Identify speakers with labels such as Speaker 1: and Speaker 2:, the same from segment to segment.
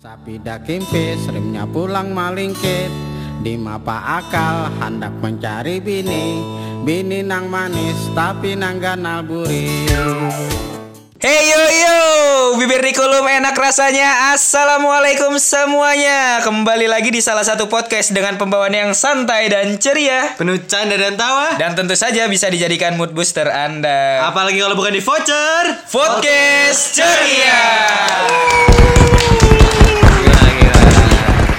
Speaker 1: Sapi dakimpis, remnya pulang malingkit Di mapa akal, hendak mencari bini Bini nang manis, tapi nang ganal buri
Speaker 2: Hey yo yo, bibir di kolom enak rasanya. Assalamualaikum semuanya. Kembali lagi di salah satu podcast dengan pembawaan yang santai dan ceria.
Speaker 3: Penuh canda dan tawa.
Speaker 2: Dan tentu saja bisa dijadikan mood booster Anda.
Speaker 3: Apalagi kalau bukan di voucher.
Speaker 2: Podcast ceria.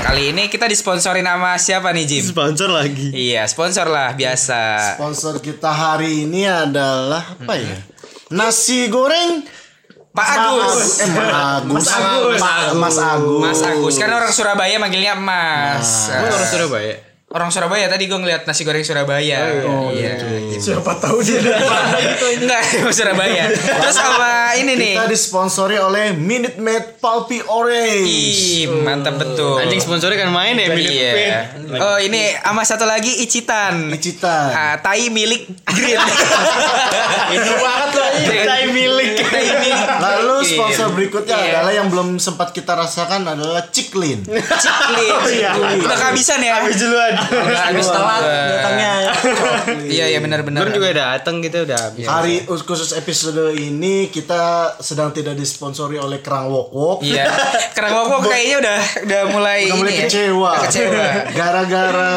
Speaker 2: Kali ini kita disponsori nama siapa nih Jim?
Speaker 3: Sponsor lagi.
Speaker 2: Iya, sponsor lah biasa.
Speaker 4: Sponsor kita hari ini adalah apa ya? Nasi goreng
Speaker 2: Pak Agus.
Speaker 4: Eh, Mas Agus.
Speaker 3: Mas Agus.
Speaker 4: Pak Mas Agus.
Speaker 2: Mas Agus, kan orang Surabaya manggilnya Mas.
Speaker 3: Gue orang Surabaya.
Speaker 2: orang Surabaya tadi gue ngeliat nasi goreng Surabaya. Oh, iya.
Speaker 3: Siapa tahu dia dari mana gitu ini.
Speaker 2: Enggak, emang Surabaya. Terus sama ini nih.
Speaker 4: Kita disponsori oleh Minute Maid Pulpy Orange.
Speaker 2: Ih, mantap betul.
Speaker 3: Anjing sponsornya kan main ya, Minute
Speaker 2: Iya.
Speaker 3: Maid.
Speaker 2: Oh, ini sama satu lagi Icitan.
Speaker 4: Icitan.
Speaker 2: Ah, tai milik Green.
Speaker 3: Itu banget loh, ini tai milik.
Speaker 2: tai milik.
Speaker 4: Lalu sponsor berikutnya
Speaker 2: Iya.
Speaker 4: adalah yang belum sempat kita rasakan adalah Ciklin.
Speaker 2: Ah. Ciklin. Udah kehabisan ya.
Speaker 3: Habis duluan.
Speaker 2: Udah habis telat
Speaker 4: datangnya.
Speaker 2: Iya, iya benar-benar.
Speaker 3: Belum juga datang kita udah habis.
Speaker 4: Hari khusus episode ini kita sedang tidak disponsori oleh Kerang Wok Wok.
Speaker 2: Iya. Karena kok kayaknya udah udah mulai
Speaker 4: Udah mulai
Speaker 2: ini ya.
Speaker 4: kecewa. Iya.
Speaker 2: Udah kecewa. Ah. Eh,
Speaker 4: Gara-gara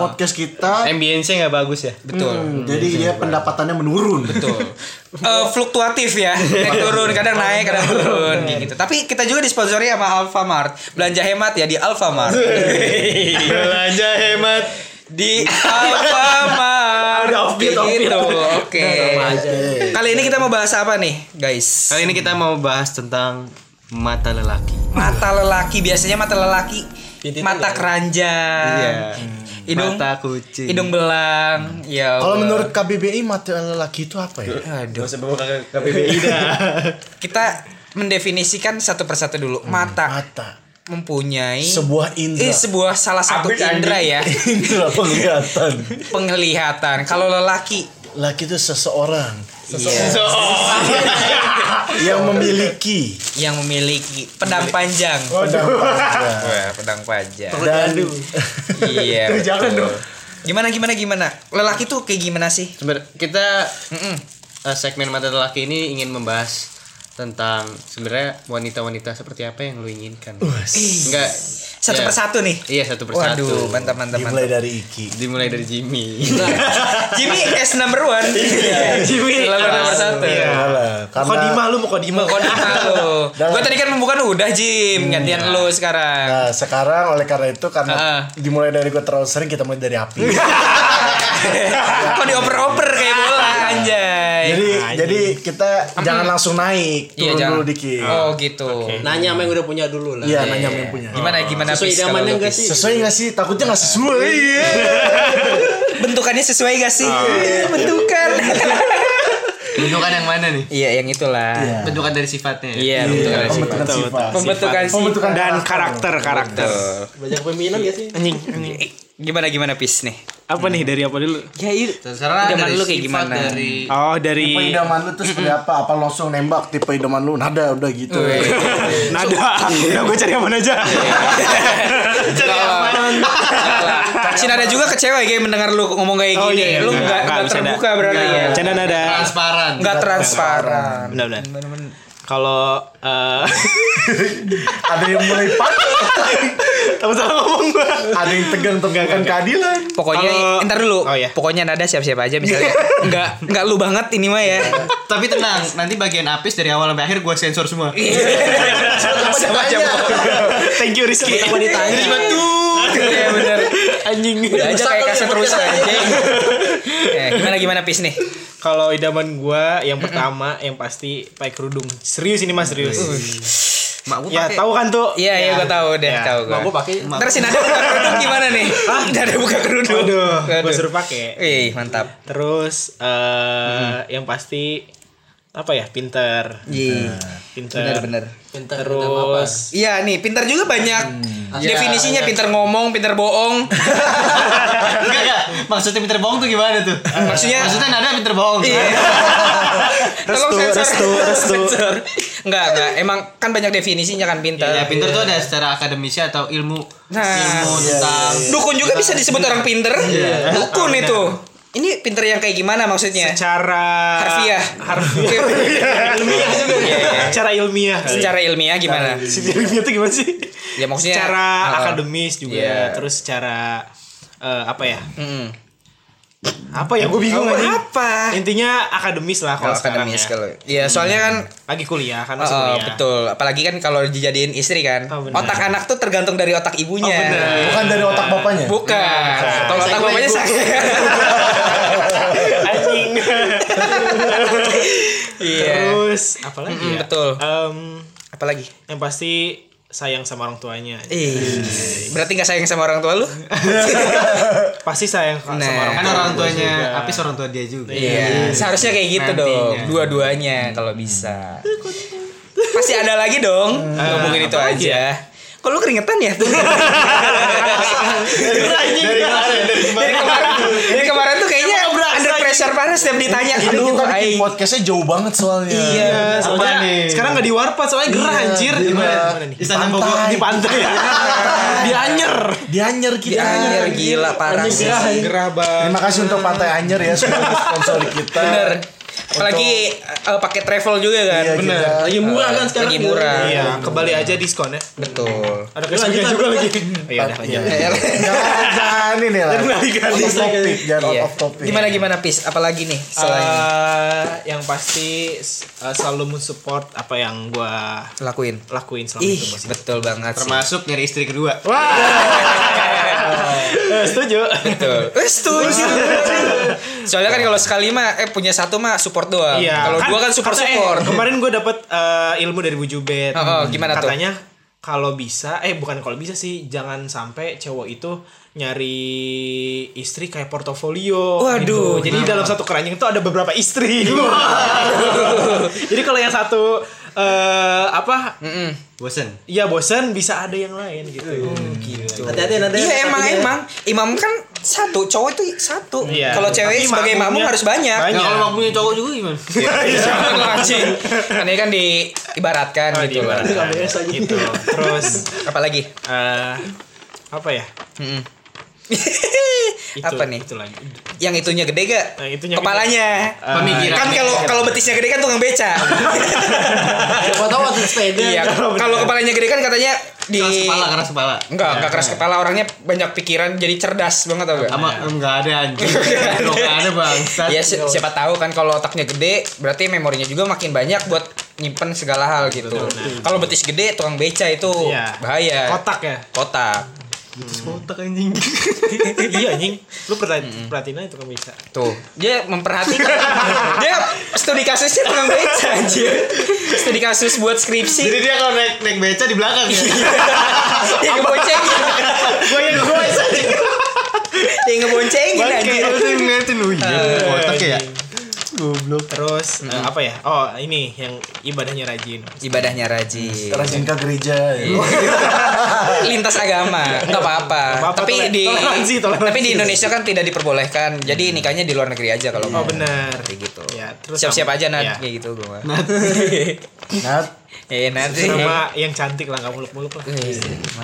Speaker 4: podcast kita.
Speaker 3: Ambience-nya nggak bagus ya.
Speaker 2: Betul.
Speaker 4: hmm, jadi dia pendapatannya menurun.
Speaker 2: Betul. Eh, fluktuatif ya,
Speaker 4: Iya.
Speaker 2: naik turun, kadang naik, kadang turun kayak gitu. Tapi kita juga disponsori sama Alfamart. Belanja hemat ya di Alfamart.
Speaker 4: Iya.
Speaker 3: Belanja hemat.
Speaker 2: di Alfamart.
Speaker 3: Ada offbeat,
Speaker 2: Kayak
Speaker 3: offbeat.
Speaker 2: gitu. Oke.
Speaker 4: Oke.
Speaker 2: Kali ini kita mau bahas apa nih, guys?
Speaker 3: Kali ini kita mau bahas tentang mata lelaki.
Speaker 2: Mata lelaki biasanya mata lelaki
Speaker 3: Titik
Speaker 2: mata
Speaker 3: ya.
Speaker 2: keranjang.
Speaker 3: Iya.
Speaker 2: Hidung
Speaker 3: Mata kucing.
Speaker 2: Hidung belang. Ya.
Speaker 4: Kalau
Speaker 2: Allah.
Speaker 4: menurut KBBI mati lelaki itu apa ya?
Speaker 2: Aduh.
Speaker 3: Gak usah bawa ke KPBI dah.
Speaker 2: Kita mendefinisikan satu persatu dulu. Mata
Speaker 4: Mata.
Speaker 2: mempunyai
Speaker 4: Hmm. Sebuah indera.
Speaker 2: Eh, sebuah salah satu
Speaker 3: Abis,
Speaker 2: indera ya
Speaker 4: indera penglihatan.
Speaker 2: penglihatan kalau lelaki
Speaker 4: Laki itu seseorang
Speaker 2: iya,
Speaker 3: So,
Speaker 4: yang memiliki
Speaker 2: yang memiliki pedang
Speaker 4: Iya.
Speaker 2: panjang
Speaker 4: pedang panjang.
Speaker 2: Wah, pedang panjang
Speaker 4: dan
Speaker 2: iya
Speaker 3: Aduh, jangan
Speaker 2: betul.
Speaker 3: dong.
Speaker 2: gimana gimana gimana lelaki tuh kayak gimana sih
Speaker 3: Sebenarnya kita
Speaker 2: Mm-mm.
Speaker 3: Eh, segmen mata lelaki ini ingin membahas tentang sebenarnya wanita-wanita seperti apa yang lu inginkan. Enggak
Speaker 2: satu
Speaker 3: ya.
Speaker 2: persatu nih
Speaker 3: Iya satu persatu.
Speaker 2: waduh mantap mantap
Speaker 4: dimulai
Speaker 2: mantap
Speaker 4: dari Iki.
Speaker 3: Dimulai dari Jimmy.
Speaker 2: Jimmy S number one Jimmy nomor nomor satu
Speaker 4: Iya lah, Karena
Speaker 3: Kodima Ya. lu mau kodima
Speaker 2: Kok di malu?
Speaker 4: Dalam. Iya.
Speaker 2: Gue tadi kan bukan udah Jim, gantian lu sekarang.
Speaker 4: nah, sekarang oleh karena itu karena
Speaker 2: Ah. Iya,
Speaker 4: dimulai dari gue terlalu sering kita mulai dari api.
Speaker 2: Kok dioper-oper kayak bola anjay.
Speaker 4: jadi jadi kita jangan langsung naik,
Speaker 2: Iya,
Speaker 4: turun
Speaker 2: jangan.
Speaker 4: dulu dikit.
Speaker 2: Oh gitu.
Speaker 5: Nanya sama yang udah punya dulu lah.
Speaker 4: Iya, nanya yang punya.
Speaker 2: Gimana gimana
Speaker 5: Sesuai
Speaker 2: Pis, kalau
Speaker 5: idamannya
Speaker 2: lu,
Speaker 5: enggak
Speaker 2: Pis?
Speaker 5: sih?
Speaker 4: Sesuai gak sih? Takutnya gak sesuai.
Speaker 2: Bentukannya sesuai gak sih? Iya, Bentukan.
Speaker 3: Bentukan yang mana nih?
Speaker 2: Iya, yang itulah.
Speaker 3: Bentukan dari sifatnya. ya?
Speaker 2: Iya, bentukan sih.
Speaker 4: Pembentukan sifat.
Speaker 2: Pembentukan sih.
Speaker 4: Pembentukan
Speaker 6: dan karakter karakter
Speaker 5: Banyak peminan gak sih?
Speaker 6: anjing anjing
Speaker 2: Gimana gimana pis nih?
Speaker 6: apa nih dari apa dulu
Speaker 2: Ya itu.
Speaker 3: Terserah
Speaker 2: Idaman
Speaker 3: dari
Speaker 2: lu kayak
Speaker 3: sifat,
Speaker 2: gimana? Eh,
Speaker 3: Dari
Speaker 6: oh
Speaker 4: Tipe
Speaker 6: dari
Speaker 4: idaman lu tuh seperti apa? Apa langsung nembak tipe idaman lu? Nada udah gitu.
Speaker 2: Iya.
Speaker 6: nada ya gue cari yang mana aja
Speaker 2: Cina ada juga kecewa ya kayak mendengar lu ngomong kayak
Speaker 6: Oh,
Speaker 2: gini.
Speaker 6: iya, iya.
Speaker 2: Lu enggak
Speaker 6: Enggak, enggak,
Speaker 2: enggak
Speaker 6: bercanda.
Speaker 2: terbuka berarti ya.
Speaker 6: canda nada
Speaker 3: transparan.
Speaker 2: Enggak transparan.
Speaker 6: benar-benar kalau eh,
Speaker 4: Ada yang mulai panik.
Speaker 6: tahu salah ngomong gue
Speaker 4: Ada yang tegang tegangkan keadilan.
Speaker 2: Pokoknya
Speaker 6: Kalau-
Speaker 2: entar dulu.
Speaker 6: Oh, iya.
Speaker 2: Pokoknya nada siap-siap aja misalnya. Enggak enggak lu banget ini mah ya.
Speaker 3: Tapi tenang, nanti bagian apis dari awal sampai akhir gua sensor semua.
Speaker 2: Sama aja.
Speaker 6: thank you Rizky
Speaker 2: ditanya. Iya benar.
Speaker 6: anjing
Speaker 2: Udah aja kayak kaset rusak aja. Eh, gimana gimana pis nih?
Speaker 6: kalau idaman gue yang pertama yang pasti pakai kerudung serius ini mas serius
Speaker 3: Mak gua
Speaker 6: ya
Speaker 3: pakai-
Speaker 6: tahu kan tuh
Speaker 2: Iya, iya, gue tahu deh,
Speaker 6: Ya.
Speaker 2: tahu gue.
Speaker 5: Mak gua pakai
Speaker 2: Terus si Nada buka kerudung gimana nih? Hah? Nada buka kerudung.
Speaker 6: Waduh,
Speaker 2: Waduh.
Speaker 6: gue suruh pakai.
Speaker 2: Wih, mantap.
Speaker 6: Terus eh yang pasti apa ya? Pinter.
Speaker 2: Iya.
Speaker 6: Pinter.
Speaker 2: Bener-bener.
Speaker 5: Pintar Iya, nama apa?
Speaker 6: Terus
Speaker 2: Iya nih, pintar
Speaker 6: Hmm.
Speaker 2: juga banyak. Definisinya pintar ngomong, pintar bohong.
Speaker 3: Enggak enggak.
Speaker 5: Maksudnya pinter bohong tuh gimana tuh?
Speaker 6: Eh,
Speaker 2: Maksudnya-
Speaker 5: Maksudnya nada pinter bohong.
Speaker 6: Iya.
Speaker 2: Iya.
Speaker 3: kan?
Speaker 2: Tolong
Speaker 6: Restu,
Speaker 2: sensor.
Speaker 6: restu, restu.
Speaker 2: Sensor. Enggak, enggak. Emang kan banyak definisinya kan pintar.
Speaker 3: Ya,
Speaker 6: Iya,
Speaker 3: pinter tuh ada secara akademisnya atau ilmu
Speaker 2: Nah.
Speaker 3: ilmu
Speaker 2: Iya,
Speaker 3: tentang
Speaker 2: Dukun juga bisa disebut orang pinter.
Speaker 6: Iya.
Speaker 2: Dukun itu. Ini pinter yang kayak gimana maksudnya?
Speaker 6: Secara
Speaker 2: Harfiah. Iya.
Speaker 6: Harfiah. ilmiah juga. Secara ilmiah. kali.
Speaker 2: Secara ilmiah gimana?
Speaker 6: Iya. Secara ilmiah itu gimana sih?
Speaker 2: Ya, maksudnya-
Speaker 6: secara
Speaker 2: Uh-uh.
Speaker 6: akademis juga,
Speaker 2: Iya.
Speaker 6: terus secara eh, apa ya?
Speaker 2: Mm.
Speaker 6: Apa ya? Gue bingung
Speaker 2: Apa?
Speaker 6: anjing.
Speaker 2: Apa?
Speaker 6: Intinya akademis lah kalau
Speaker 2: Kalau
Speaker 6: sekarang
Speaker 2: akademis
Speaker 6: ya.
Speaker 2: kalau. Ya, soalnya kan
Speaker 6: Lagi kuliah kan masih
Speaker 2: Oh,
Speaker 6: kuliah.
Speaker 2: betul. Apalagi kan kalau dijadiin istri kan.
Speaker 6: Oh, benar.
Speaker 2: otak anak tuh tergantung dari otak ibunya.
Speaker 4: Bukan dari otak bapaknya.
Speaker 2: Bukan. Kalau otak bapaknya sakit.
Speaker 6: Anjing.
Speaker 2: Iya.
Speaker 6: Terus apalagi
Speaker 2: Mm-mm,
Speaker 6: ya?
Speaker 2: betul.
Speaker 6: Em,
Speaker 2: Apalagi?
Speaker 6: yang pasti sayang sama orang tuanya.
Speaker 2: Ih, berarti nggak sayang sama orang tua lu?
Speaker 6: Pasti sayang sama
Speaker 2: Nah.
Speaker 6: orang
Speaker 3: kan
Speaker 6: tuanya.
Speaker 3: orang tuanya
Speaker 6: Iya, juga.
Speaker 3: Apis orang tua dia juga.
Speaker 2: Iya, seharusnya kayak gitu
Speaker 3: Nantinya.
Speaker 2: dong. Dua-duanya kalau bisa. Pasti ada lagi dong. Ngomongin itu aja. Kok lu keringetan ya?
Speaker 4: Dari kemarin, dari
Speaker 2: Dari kemarin, dari kemarin tuh kayaknya under pressure panas setiap ditanya.
Speaker 4: Ini
Speaker 2: Aduh,
Speaker 4: kita bikin
Speaker 2: aing.
Speaker 4: podcastnya jauh banget soalnya.
Speaker 2: Iya.
Speaker 6: Soalnya
Speaker 3: Apa nih?
Speaker 6: sekarang nggak di warpat soalnya gerah anjir.
Speaker 4: Iya, di
Speaker 6: Gimana?
Speaker 4: mana?
Speaker 6: Gimana nih?
Speaker 4: Istana Bogor.
Speaker 6: Di pantai ya. di Anyer.
Speaker 4: Di Anyer kita.
Speaker 2: Anjir gila parah
Speaker 4: Anjir, gerah,
Speaker 2: sih.
Speaker 4: ya.
Speaker 6: Gerah banget.
Speaker 4: Terima kasih untuk Pantai Anyer ya sudah sponsor kita.
Speaker 2: Bener. Apalagi eh, pakai travel juga kan.
Speaker 4: Iya,
Speaker 2: Bener.
Speaker 4: kita-
Speaker 5: Lagi murah kan sekarang.
Speaker 2: Lagi murah.
Speaker 6: Iya, kembali aja ya. diskonnya.
Speaker 2: Betul.
Speaker 6: Ada cashbacknya juga lagi. Iya, udah
Speaker 4: Iya.
Speaker 6: lanjut.
Speaker 4: Jangan jangan ini lah. Out of topic, jangan out
Speaker 2: Iya.
Speaker 4: of topic.
Speaker 2: Gimana gimana pis? Apalagi nih selain
Speaker 6: Eh, yang pasti eh, selalu mensupport apa yang gua
Speaker 2: lakuin?
Speaker 6: lakuin selama
Speaker 2: Ih,
Speaker 6: itu Bos.
Speaker 2: betul banget sih.
Speaker 3: Termasuk nyari istri kedua.
Speaker 6: Eh, setuju.
Speaker 2: Betul. Eh, setuju. Soalnya kan kalau sekali mah eh punya satu mah support doang.
Speaker 6: Iya.
Speaker 2: Kalau
Speaker 6: kan
Speaker 2: dua kan support
Speaker 6: kata- eh,
Speaker 2: support.
Speaker 6: kemarin gue dapet eh, ilmu dari Bu Jubet.
Speaker 2: Oh, oh, gimana tuh?
Speaker 6: Katanya kalau bisa, eh bukan kalau bisa sih, jangan sampai cowok itu nyari istri kayak portofolio. gitu.
Speaker 2: Waduh.
Speaker 6: Jadi dalam satu keranjang itu ada beberapa istri.
Speaker 2: Iya.
Speaker 6: Jadi kalau yang satu eh apa?
Speaker 3: Bosen.
Speaker 6: Ya bosen bisa ada yang lain gitu.
Speaker 5: Hati-hati nada.
Speaker 2: Iya emang emang imam kan satu cowok itu satu.
Speaker 6: Iya.
Speaker 2: Kalau cewek
Speaker 6: Tapi
Speaker 2: sebagai makmum
Speaker 6: makmumnya
Speaker 2: harus banyak. Iya.
Speaker 6: banyak.
Speaker 3: Nah, kalau mau punya cowok juga gimana?
Speaker 6: Iya.
Speaker 2: Jangan lah, anjing. Karena ini kan diibaratkan
Speaker 6: Oh,
Speaker 2: gitu.
Speaker 6: diibaratkan.
Speaker 2: loh.
Speaker 6: gitu. Terus
Speaker 2: Apalagi?
Speaker 6: eh apa ya?
Speaker 2: Mm-mm.
Speaker 6: Itu,
Speaker 2: apa nih?
Speaker 6: Itu lagi.
Speaker 2: Yang itunya gede gak?
Speaker 6: Nah, itunya gede. Eh,
Speaker 2: Kepalanya.
Speaker 3: Pemikiran.
Speaker 2: Kan kalau kalau betisnya gede kan tukang beca.
Speaker 5: Siapa tahu waktu sepeda.
Speaker 2: iya. Kalau kepalanya gede kan katanya di
Speaker 3: Keras kepala, keras kepala.
Speaker 2: Enggak,
Speaker 6: Iya,
Speaker 2: enggak keras kepala orangnya banyak pikiran jadi cerdas banget tau gak?
Speaker 3: Sama
Speaker 6: Iya.
Speaker 3: enggak ada anjing. Enggak ada bangsat.
Speaker 2: Ya si- siapa tahu kan kalau otaknya gede berarti memorinya juga makin banyak buat nyimpen segala hal gitu. Kalau betis gede tukang beca itu
Speaker 6: Nah, Iya.
Speaker 2: bahaya.
Speaker 6: Kotak ya?
Speaker 2: Kotak.
Speaker 3: Otak anjing.
Speaker 6: iya anjing lu perhatiin perhatiin aja tukang beca
Speaker 2: Tuh, dia memperhatikan. dia studi kasusnya tukang beca anjir. Studi kasus buat skripsi.
Speaker 3: Jadi dia kalau naik naik beca di belakang ya.
Speaker 2: dia ngeboncengin.
Speaker 6: gue yang gue
Speaker 2: dia
Speaker 6: Iya,
Speaker 2: ngeboncengin anjir.
Speaker 3: Dia ngeliatin lu iya. Otak ya.
Speaker 6: terus eh, apa ya oh ini yang ibadahnya rajin
Speaker 2: Ibadahnya rajin.
Speaker 4: Rajin ke gereja. ya.
Speaker 2: lintas agama nggak apa-apa
Speaker 6: apa-apa,
Speaker 2: tapi
Speaker 6: toler-
Speaker 2: di
Speaker 6: toleransi, toleransi. Hmm.
Speaker 2: tapi di Indonesia kan tidak diperbolehkan jadi nikahnya di luar negeri aja kalau
Speaker 6: oh
Speaker 2: mau
Speaker 6: benar
Speaker 2: Seperti gitu
Speaker 6: ya terus
Speaker 2: siap-siap
Speaker 6: sama-
Speaker 2: aja
Speaker 6: ya.
Speaker 2: nat kayak gitu gua
Speaker 4: Nat,
Speaker 2: ya nanti
Speaker 6: sama yang cantik lah nggak muluk-muluk lah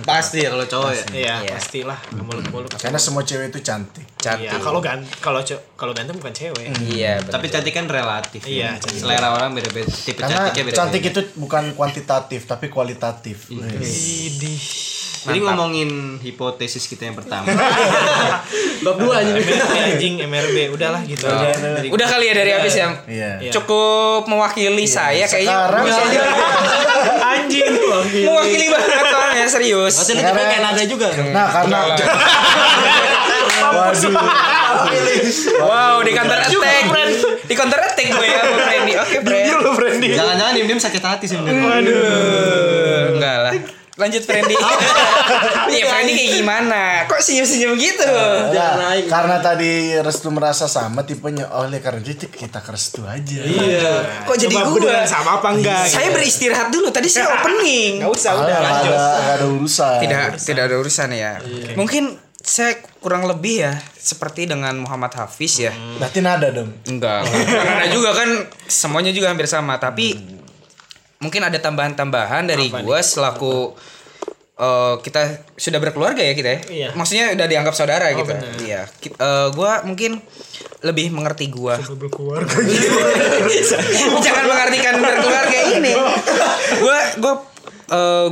Speaker 3: Pasti ya kalau cowok ya.
Speaker 6: Iya,
Speaker 2: Iya.
Speaker 6: pastilah nggak muluk-muluk.
Speaker 4: karena semua cewek itu cantik.
Speaker 2: cantik
Speaker 6: Iya, kalau gan kalau cowok- kalau ganteng bukan cewek.
Speaker 2: iya bener.
Speaker 3: Tapi cantik kan relatif.
Speaker 6: Iya,
Speaker 3: ya.
Speaker 6: cantik.
Speaker 3: selera orang beda-beda. Tipe
Speaker 4: Karena
Speaker 5: ya
Speaker 3: cantiknya beda.
Speaker 4: cantik itu bukan kuantitatif tapi kualitatif.
Speaker 5: Iya.
Speaker 4: Nah, Wes.
Speaker 6: Idih.
Speaker 3: Jadi ngomongin hipotesis kita yang pertama.
Speaker 5: Bab dua aja.
Speaker 6: MRB anjing MRB udahlah gitu aja.
Speaker 2: Iya. udah kali ya dari habis ya
Speaker 4: Iya.
Speaker 2: cukup mewakili saya kayaknya
Speaker 4: Sekarang
Speaker 2: Bisa aja.
Speaker 6: Iya, Anjing.
Speaker 2: mewakili banget soalnya serius
Speaker 5: Maksudnya lu juga kayak nada juga.
Speaker 4: Nah, karena Waduh.
Speaker 2: wow di counter attack di counter attack gue ya sama Freddy oke Fred
Speaker 6: Lu Brandy.
Speaker 3: Jangan-jangan diem-diem sakit hati sebenarnya.
Speaker 2: Aduh, enggak lah. Lanjut Freddy.
Speaker 6: Oh.
Speaker 2: Iya Freddy kayak gimana? Kok senyum-senyum gitu?
Speaker 5: Jangan
Speaker 4: Nah,
Speaker 5: naik.
Speaker 4: karena tadi Restu merasa sama tipenya "Oh, oleh karena itu kita ke Restu aja.
Speaker 6: Iya.
Speaker 2: Kok jadi gua?
Speaker 6: Coba
Speaker 2: Iya.
Speaker 6: beneran sama apa enggak?
Speaker 2: Saya beristirahat dulu. Tadi saya opening.
Speaker 5: Ya
Speaker 6: Enggak usah,
Speaker 4: Soalnya
Speaker 6: udah
Speaker 4: nggak
Speaker 6: lanjut.
Speaker 4: ada, nggak ada urusan.
Speaker 6: Iya.
Speaker 2: Tidak, tidak ada urusan ya. Mungkin saya kurang lebih ya seperti dengan Muhammad Hafiz ya.
Speaker 4: Berarti nada dong.
Speaker 2: Enggak. Karena juga kan semuanya juga hampir sama, tapi mungkin ada tambahan-tambahan dari gua selaku eh, kita sudah berkeluarga ya kita ya.
Speaker 6: Iya. Oh,
Speaker 2: Maksudnya udah dianggap saudara gitu. Iya. Ki- eh, gua mungkin lebih mengerti gua.
Speaker 6: Gitu, berkeluarga
Speaker 2: Jangan mengartikan berkeluarga ini. Gue gue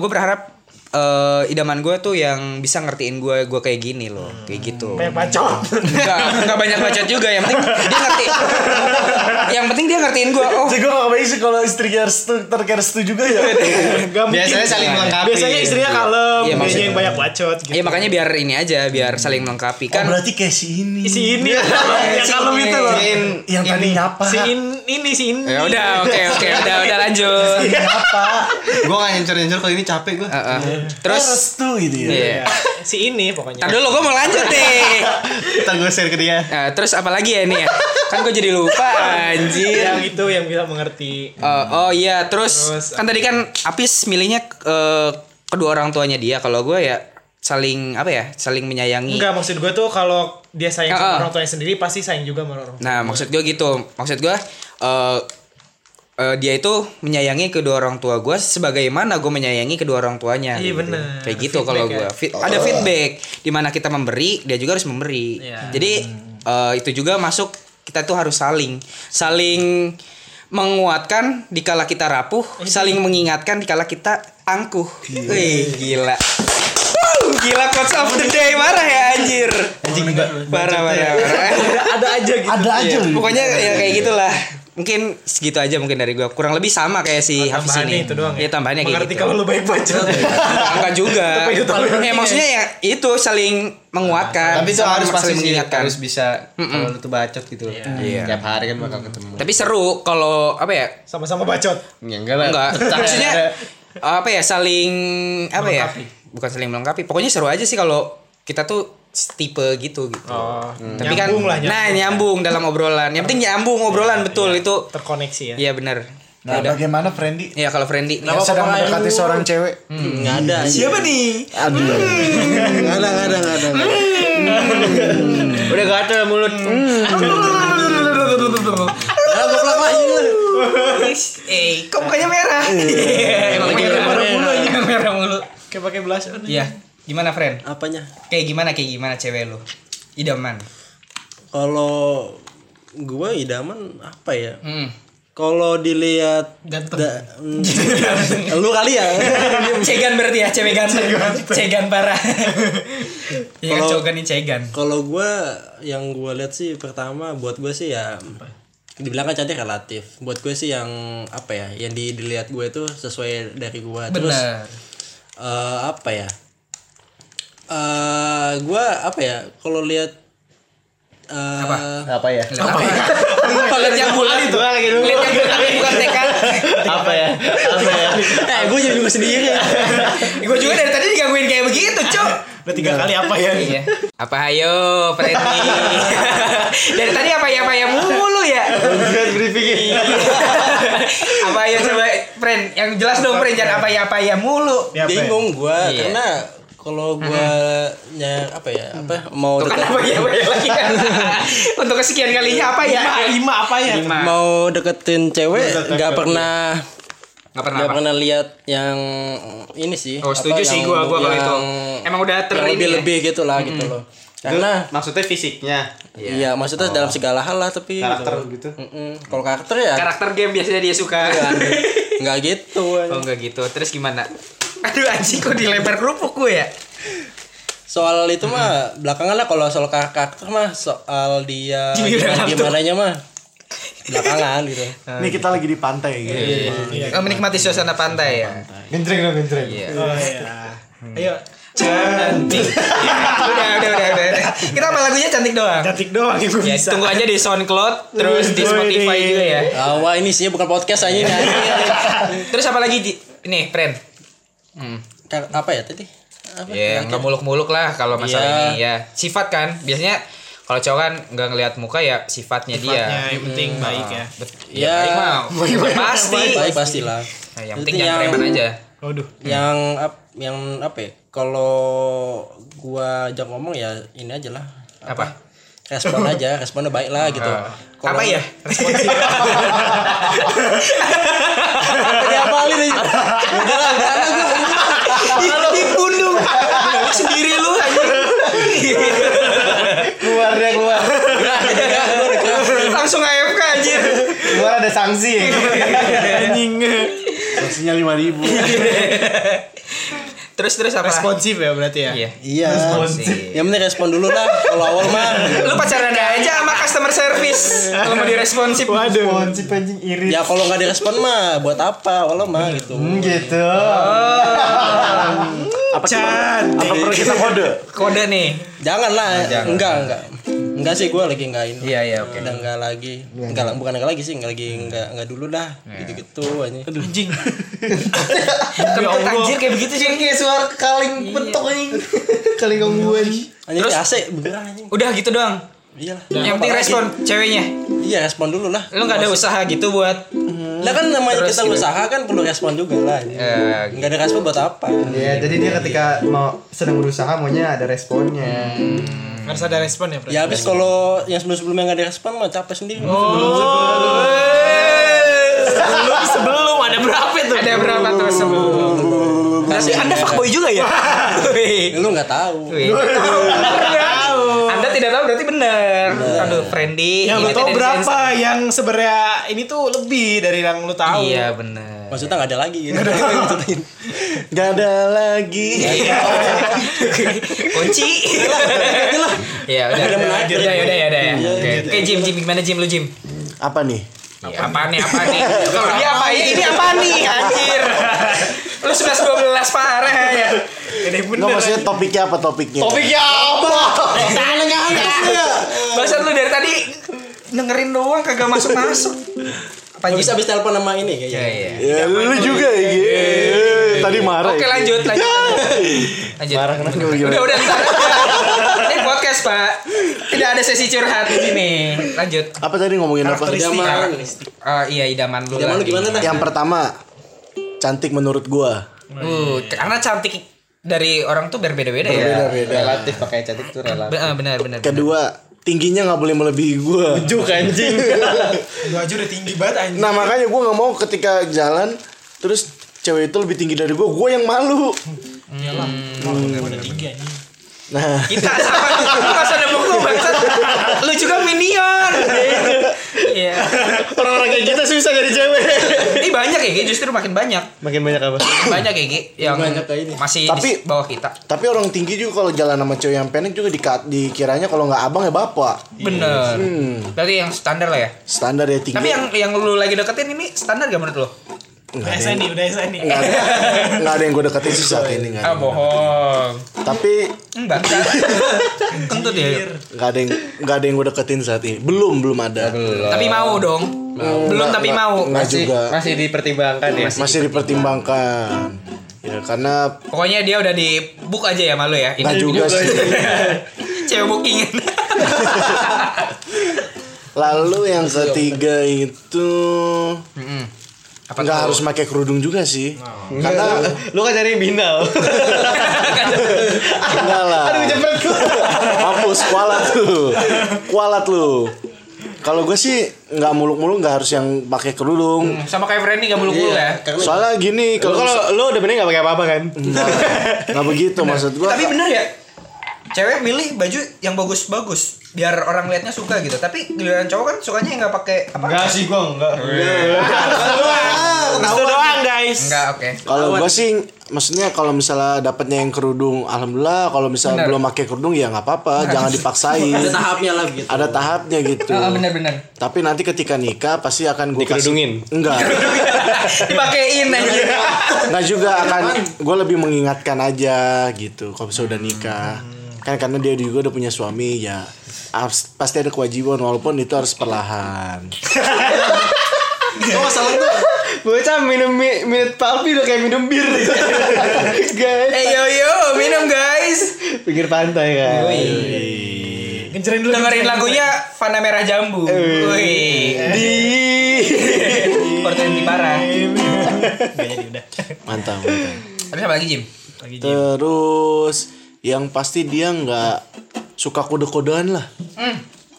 Speaker 2: gue berharap eh, idaman gue tuh yang bisa ngertiin gue gue kayak gini loh kayak gitu
Speaker 6: Hmm. kayak bacot
Speaker 2: Enggak, enggak banyak bacot juga yang penting dia ngerti yang penting dia ngertiin gue oh
Speaker 4: Jadi gue gak baik sih kalau istri restu, terkait restu juga ya.
Speaker 5: Iya.
Speaker 3: Biasanya saling melengkapi.
Speaker 6: biasanya istrinya kalem
Speaker 2: Iya,
Speaker 6: dia
Speaker 2: maksudnya.
Speaker 6: yang banyak bacot gitu
Speaker 2: ya makanya biar ini aja biar saling melengkapi
Speaker 4: Oh,
Speaker 2: kan
Speaker 4: berarti kayak si ini.
Speaker 6: si ini yang
Speaker 2: Iya. si
Speaker 6: kalem
Speaker 2: ini.
Speaker 6: itu loh
Speaker 3: Sin.
Speaker 4: yang tadi nyapa.
Speaker 6: si in, ini si ini
Speaker 2: ya udah oke oke udah udah lanjut
Speaker 4: Nyapa.
Speaker 3: Gue gak nyencur-nyencur kalau ini capek gue.
Speaker 2: Heeh.
Speaker 4: Terus
Speaker 2: terus
Speaker 4: Ya, restu gitu ya.
Speaker 2: iya
Speaker 6: si ini pokoknya
Speaker 2: Ntar dulu gue mau lanjut nih
Speaker 3: Ntar gue share ke dia.
Speaker 2: Nah, terus apa lagi ya ini ya kan gue jadi lupa anjir
Speaker 6: yang itu yang bisa mengerti
Speaker 2: Eh, oh iya, terus,
Speaker 6: Iya. Terus,
Speaker 2: kan tadi kan Apis milihnya eh, kedua orang tuanya dia. Kalau gue ya saling apa ya, saling menyayangi.
Speaker 6: Enggak maksud gue tuh kalau dia sayang
Speaker 2: Ah, ah.
Speaker 6: sama orang tuanya sendiri pasti sayang juga sama orang tua.
Speaker 2: Nah, maksud gue gitu. Maksud gue eh, eh, dia itu menyayangi kedua orang tua gue sebagaimana gue menyayangi kedua orang tuanya.
Speaker 6: Iya,
Speaker 2: gitu.
Speaker 6: bener.
Speaker 2: Kayak gitu kalau gue.
Speaker 6: Feedback ya.
Speaker 2: Fit- Ada feedback di mana kita memberi, dia juga harus memberi.
Speaker 6: Iya.
Speaker 2: Jadi eh, itu juga masuk kita tuh harus saling saling menguatkan dikala kita rapuh,
Speaker 6: Iya.
Speaker 2: saling mengingatkan dikala kita angkuh. Wih, gila. Wuh, Gila quotes of the day marah ya anjir.
Speaker 3: Anjing enggak.
Speaker 2: Parah parah parah.
Speaker 6: Ada aja gitu.
Speaker 4: Ada aja
Speaker 2: Iya,
Speaker 4: loh.
Speaker 2: Pokoknya ya kayak gitulah. Mungkin segitu aja mungkin dari gua. Kurang lebih sama kayak si
Speaker 6: Oh,
Speaker 2: Hafiz
Speaker 6: tambahannya
Speaker 2: ini.
Speaker 6: itu doang
Speaker 2: Iya,
Speaker 6: ya?
Speaker 2: tambahannya kayak
Speaker 6: Mengerti
Speaker 2: gitu.
Speaker 6: kalau lu baik bacot.
Speaker 2: Enggak juga.
Speaker 6: Tapi itu paling penting
Speaker 2: ya maksudnya ya itu saling menguatkan.
Speaker 3: Tapi itu
Speaker 2: sama
Speaker 3: harus pasti
Speaker 2: saling
Speaker 3: sih
Speaker 2: mengingatkan.
Speaker 3: harus bisa kalau lu tuh bacot gitu loh.
Speaker 2: Iya.
Speaker 3: Tiap hari kan bakal ketemu.
Speaker 2: Tapi seru kalau apa ya?
Speaker 6: Sama-sama bacot.
Speaker 3: Ya enggak lah.
Speaker 2: Enggak.
Speaker 3: Tetap
Speaker 2: maksudnya
Speaker 3: ada.
Speaker 2: apa ya? Saling apa ya?
Speaker 6: Melengkapi.
Speaker 2: Bukan saling melengkapi. Pokoknya seru aja sih kalau kita tuh tipe gitu gitu.
Speaker 6: Oh,
Speaker 2: Tapi kan
Speaker 6: nyambung lah nyambung. Iya.
Speaker 2: nah nyambung dalam obrolan. Yang penting nyambung obrolan betul itu.
Speaker 6: terkoneksi ya.
Speaker 2: Iya benar.
Speaker 4: Nah,
Speaker 2: Udah.
Speaker 4: bagaimana Friendly?
Speaker 2: Iya kalau friendly nih.
Speaker 4: Yang sedang mendekati seorang cewek.
Speaker 5: Nggak ada. Siapa nih? Hmm. Aduh. Nggak ada, nggak ada, nggak ada. nggak ada.
Speaker 3: Udah gak ada mulut.
Speaker 5: Ah, goblok lah, ini lah.
Speaker 2: Eh, kok mukanya merah?
Speaker 6: Iya,
Speaker 2: Emang lagi merah mulu aja merah mulu.
Speaker 6: Kayak pakai blush on.
Speaker 2: Iya, gimana friend?
Speaker 5: Apanya?
Speaker 2: Kayak gimana kayak gimana cewek lu? Idaman.
Speaker 5: Kalau gue idaman apa ya?
Speaker 2: Hmm.
Speaker 5: Kalau dilihat
Speaker 6: Ganteng.
Speaker 5: da- mm, lu kali ya.
Speaker 2: cegan berarti ya, cewek ganteng. Cegan parah. Iya, kan
Speaker 5: Kalau-
Speaker 2: cowok kan ini cegan.
Speaker 5: Kalau gue yang gue lihat sih pertama buat gue sih ya dibilang kan cantik relatif. Buat gue sih yang apa ya? Yang di, dilihat gue itu sesuai dari gue. Terus
Speaker 2: Benar.
Speaker 5: eh, apa ya? Eh gue apa ya? Kalau lihat eh,
Speaker 3: Apa ya?
Speaker 2: Apa ya? Kalau lihat
Speaker 5: ya?
Speaker 2: yang bulat itu
Speaker 3: lagi dulu.
Speaker 2: lihat yang bulat bukan tekan.
Speaker 3: Apa ya? Apa ya?
Speaker 5: eh gue jadi gue sendiri
Speaker 2: Gue juga dari tadi digangguin kayak begitu, Cok.
Speaker 6: Udah tiga kali apa ya?
Speaker 2: Iya. Apa hayo, Freddy? Dari tadi apa ya apa ya mulu ya? Iya. apa ya coba friend yang jelas dong friend jangan apa ya apa ya mulu.
Speaker 6: Ini apa ya?
Speaker 5: bingung gue
Speaker 2: Iya.
Speaker 5: karena kalau gue nya apa ya apa mau
Speaker 2: Tuh kan
Speaker 5: deket
Speaker 2: apa ya apa ya lagi. Untuk kesekian kalinya apa ya?
Speaker 6: Lima apa ya?
Speaker 2: Lima.
Speaker 5: mau deketin cewek nggak pernah
Speaker 2: Nggak pernah.
Speaker 5: nggak
Speaker 2: apa?
Speaker 5: pernah lihat yang ini sih
Speaker 2: Oh, setuju sih gua- gua kalau itu. Emang udah ter- ini
Speaker 5: lebih
Speaker 2: ya?
Speaker 5: lebih gitu lah gitu loh karena
Speaker 3: Maksudnya fisiknya,
Speaker 5: iya
Speaker 2: Oh.
Speaker 5: maksudnya dalam segala hal lah tapi
Speaker 2: Nah.
Speaker 3: karakter
Speaker 5: gitu.
Speaker 3: gitu.
Speaker 5: Mm-mm. kalau karakter ya Iya.
Speaker 2: Karakter game biasanya dia suka.
Speaker 5: nggak gitu
Speaker 2: Oh enggak gitu. Terus gimana? Aduh anjing kok dilempar kerupuk gue ya?
Speaker 5: soal itu mah belakangan lah kalau soal kar- karakter mah soal dia
Speaker 6: Iya,
Speaker 2: Jimmy udah
Speaker 5: gimana
Speaker 2: ngantuk.
Speaker 5: gimananya mah belakangan gitu Iya,
Speaker 4: Nih kita lagi di pantai gitu.
Speaker 2: Oh, menikmati suasana pantai ya. Hmm.
Speaker 4: Genjreng dong, genjreng.
Speaker 6: Oh iya. Ayo.
Speaker 2: Cantik. Iya. udah, udah, udah, udah, udah. Kita apa lagunya cantik doang.
Speaker 6: Cantik doang yang gue
Speaker 2: Ya,
Speaker 6: bisa.
Speaker 2: tunggu aja di SoundCloud, terus di Spotify juga ya.
Speaker 5: Ah, wah ini isinya bukan podcast aja ini
Speaker 2: Terus apa lagi Ji? nih, friend? Hmm.
Speaker 5: Kar- apa ya tadi apa
Speaker 2: Ya, nggak muluk-muluk lah kalau masalah
Speaker 5: Iya.
Speaker 2: ini ya. Sifat kan, biasanya kalau cowok kan nggak ngelihat muka ya sifatnya,
Speaker 6: Ya,
Speaker 2: dia.
Speaker 6: yang penting baik ya.
Speaker 2: Bet-
Speaker 5: Iya.
Speaker 2: baik mah. Pasti.
Speaker 5: baik pastilah
Speaker 2: Nah, yang penting jangan preman aja.
Speaker 6: Waduh.
Speaker 5: yang ap- yang apa ya kalau gua ajak ngomong ya ini aja lah apa, respon aja responnya baik lah gitu Kalau-
Speaker 2: Apa ya?
Speaker 5: apa diapalin aja udah lah udah lah gua dibunuh sendiri lu aja
Speaker 7: keluar dia keluar
Speaker 5: gerak jadi gerak gua udah gerak
Speaker 2: Langsung AFK anjir.
Speaker 7: keluar ada sanksi eh.
Speaker 4: Saksinya lima ribu.
Speaker 2: Terus terus apa?
Speaker 6: Responsif ya berarti ya.
Speaker 2: Iya.
Speaker 5: iya yang penting respon dulu lah kalau awal mah
Speaker 2: Lu pacaran aja sama customer service. Kalau mau diresponsif.
Speaker 6: Waduh.
Speaker 7: kunci anjing irit
Speaker 5: ya kalau nggak direspon mah buat apa awal mah gitu
Speaker 7: gitu
Speaker 4: Apa Apa perlu kita kode?
Speaker 2: Kode nih.
Speaker 5: Jangan lah, enggak enggak. Enggak sih gue lagi enggak ini.
Speaker 2: Iya, iya, oke.
Speaker 5: Udah enggak lagi. Enggak lah, bukan enggak lagi sih, enggak lagi enggak enggak dulu dah. Gitu-gitu aja.
Speaker 6: Anjing. Ya
Speaker 2: Kentut anjir kayak begitu sih.
Speaker 7: kayak suara kaling bentuk anjing kaling gangguan
Speaker 5: Anjing Terus, AC bergerak anjing.
Speaker 2: Udah gitu doang.
Speaker 5: Iya lah.
Speaker 2: Yang penting respon ceweknya.
Speaker 5: Iya, respon dulu lah.
Speaker 2: Lu nggak ada usaha gitu buat
Speaker 5: Lah kan namanya kita usaha kan perlu respon juga lah.
Speaker 2: Eh,
Speaker 5: Enggak ada respon buat apa?
Speaker 7: ya jadi dia ketika mau sedang berusaha maunya ada responnya
Speaker 2: Hmm.
Speaker 6: Harus ada respon ya,
Speaker 2: Iya,
Speaker 6: Bro.
Speaker 5: Ya habis kalau yang sebelum-sebelumnya enggak ada respon mah capek sendiri.
Speaker 6: Sebelum sebelum ada berapa tuh? Iya.
Speaker 2: ada berapa tuh sebelum? Tapi Anda fuckboy juga ya? Wih.
Speaker 5: Ya Lu enggak tahu.
Speaker 2: Wih. Anda tidak tahu berarti benar. Aduh, friendly.
Speaker 6: Yang lu
Speaker 2: Ingetin
Speaker 6: tahu
Speaker 2: dari
Speaker 6: Ya, berapa
Speaker 2: Zenza.
Speaker 6: yang sebenarnya ini tuh lebih dari yang lu tahu.
Speaker 2: Iya, benar.
Speaker 5: Maksudnya enggak ada lagi gitu.
Speaker 4: Gak ada lagi.
Speaker 2: Kunci. Ya, udah. Iya,
Speaker 5: Udah
Speaker 2: Udah,
Speaker 5: menarik.
Speaker 2: udah, ya, udah, udah. Oke, Oke, Eh, Jim, Jim gimana Jim lu Jim?
Speaker 4: Apa nih?
Speaker 2: Apaan nih, apaan nih? Kalau dia apa ya? Iya. Ini apa nih, anjir? Lu 11 12 parah ya. Ini
Speaker 4: Nggak maksudnya topiknya apa topiknya?
Speaker 2: Topiknya apa? Bahasan lu dari tadi dengerin doang kagak masuk-masuk. Apa
Speaker 5: Habis
Speaker 2: Jim?
Speaker 5: habis telepon sama ini
Speaker 2: Ya,
Speaker 5: kayaknya.
Speaker 2: ya.
Speaker 4: Ya, lu juga ya. Gi. Tadi marah.
Speaker 2: Oke
Speaker 4: ya, Gi.
Speaker 2: lanjut lanjut. Lanjut. Udah udah ntar. Ini podcast Pak. Tidak ada sesi curhat di sini. Lanjut.
Speaker 4: Apa tadi ngomongin apa?
Speaker 5: Idaman.
Speaker 2: Eh, iya idaman lu.
Speaker 5: Idaman lu
Speaker 2: lagi.
Speaker 5: gimana dah?
Speaker 4: Yang pertama, cantik menurut gua.
Speaker 2: Uh, karena cantik dari orang tuh berbeda-beda ya.
Speaker 3: Relatif pakai cantik itu relatif.
Speaker 2: Be- eh, Benar benar.
Speaker 4: Kedua, tingginya nggak boleh melebihi gua.
Speaker 6: Lu aja udah tinggi banget anjing.
Speaker 4: Nah makanya gua nggak mau ketika jalan terus cewek itu lebih tinggi dari gua, gua yang malu.
Speaker 6: Hmm.
Speaker 4: Hmm. Nah,
Speaker 2: Kita sama kita ada buku bangsat. Lu juga minion. Iya.
Speaker 7: orang-orang kayak kita susah jadi cewek
Speaker 2: Ini banyak ya, Gi. justru makin banyak.
Speaker 7: makin banyak apa
Speaker 2: Banyak ya, Gi, yang
Speaker 5: Banyak kayak ini.
Speaker 2: masih
Speaker 4: Tapi-
Speaker 2: di bawah kita.
Speaker 4: tapi orang tinggi juga kalau jalan sama cewek yang pendek juga dika- dikiranya kalau nggak abang ya bapak.
Speaker 2: Bener. Berarti yang standar lah ya.
Speaker 4: Standar ya tinggi.
Speaker 2: Tapi yang yang lu lagi deketin ini standar gak menurut lu?
Speaker 6: Udah SNI, udah SNI.
Speaker 2: Iya.
Speaker 4: nggak ada yang gue deketin sih saat ini nggak ada.
Speaker 2: Ah bohong.
Speaker 4: Tapi
Speaker 2: Enggak. Kentut ya.
Speaker 4: nggak ada yang nggak ada yang gue deketin saat ini. Belum belum ada.
Speaker 2: Tapi mau dong. Belum tapi
Speaker 4: Nggak-
Speaker 2: mau.
Speaker 4: Nggak juga.
Speaker 3: Masih dipertimbangkan ya.
Speaker 4: Masih dipertimbangkan. Ya karena
Speaker 2: Pokoknya dia udah di book aja ya malu ya.
Speaker 4: nggak
Speaker 2: Ini
Speaker 4: juga sih.
Speaker 2: cewek bookingin.
Speaker 4: Lalu yang ketiga itu
Speaker 2: Mm-mm. Apa
Speaker 4: nggak
Speaker 2: tuh?
Speaker 4: harus pakai kerudung juga sih. Karena
Speaker 7: lu kan cari binal
Speaker 4: enggak lah. Aduh jepret Mampus kualat lu. Kualat lu. Kalau gue sih nggak muluk-muluk nggak harus yang pakai kerudung.
Speaker 2: Sama kayak Frenny gak muluk-muluk
Speaker 4: Iya,
Speaker 2: ya.
Speaker 4: Soalnya gini
Speaker 7: lu
Speaker 4: kalau
Speaker 7: kalau lu udah bener gak pakai apa-apa kan
Speaker 4: nggak begitu maksud gue.
Speaker 2: Tapi bener ya. Cewek milih baju yang bagus-bagus biar orang liatnya suka gitu. Tapi giliran cowok kan sukanya yang nggak pakai apa?
Speaker 7: enggak sih gua enggak
Speaker 4: Ah,
Speaker 6: Itu doang, guys.
Speaker 2: Enggak, oke.
Speaker 4: Kalau gue sih maksudnya kalau misalnya dapatnya yang kerudung alhamdulillah kalau misalnya
Speaker 2: Bener.
Speaker 4: belum pakai kerudung ya nggak apa-apa jangan dipaksain
Speaker 5: Ada tahapnya lah gitu.
Speaker 4: ada tahapnya
Speaker 7: Oh,
Speaker 4: gitu
Speaker 2: Ah, bener-bener.
Speaker 4: tapi nanti ketika nikah pasti akan gue
Speaker 7: Dikerudungin?
Speaker 4: enggak
Speaker 2: Dipakein anjir.
Speaker 4: Nggak juga akan gue lebih mengingatkan aja gitu kalau misalnya udah nikah
Speaker 2: Hmm.
Speaker 4: kan karena dia juga udah punya suami ya abs- pasti ada kewajiban walaupun itu harus perlahan
Speaker 7: bocah minum mi- minum papi udah kayak minum bir guys
Speaker 2: Eh yo yo, minum guys.
Speaker 7: pinggir pantai kan
Speaker 2: Iya,
Speaker 6: Gencerin dulu.
Speaker 2: Dengerin lagunya Fana Merah Jambu. Wih.
Speaker 7: Eh. di
Speaker 2: Portenti parah.
Speaker 6: Gak jadi udah.
Speaker 4: mantap mantap
Speaker 2: Ada apa lagi Jim?
Speaker 6: Lagi Jim.
Speaker 4: terus yang pasti dia nggak suka kode-kodean lah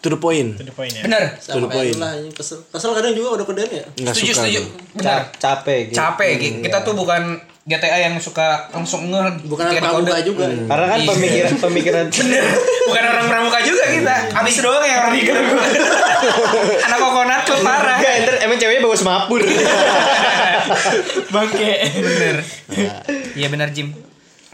Speaker 4: to the point
Speaker 6: Itu the
Speaker 7: Iya.
Speaker 6: point ya.
Speaker 2: Bener.
Speaker 4: to the point
Speaker 5: Lah, ini kesel. Kesel kadang juga udah kedan ya.
Speaker 4: nggak
Speaker 2: Setuju,
Speaker 4: suka
Speaker 2: setuju.
Speaker 4: gua.
Speaker 2: Bener.
Speaker 7: capek gitu.
Speaker 2: Capek. Ki. Kita tuh bukan GTA yang suka langsung nge
Speaker 5: Bukan
Speaker 2: ketika dikode.
Speaker 5: pramuka juga.
Speaker 7: Karena kan
Speaker 2: Iya.
Speaker 7: pemikiran pemikiran
Speaker 2: Bener. Bukan orang pramuka juga kita. Abis doang ya orang Anak kokonat tuh parah.
Speaker 7: Enggak, enter emang ceweknya bagus mapur.
Speaker 6: Bangke.
Speaker 2: Bener. Iya bener Jim.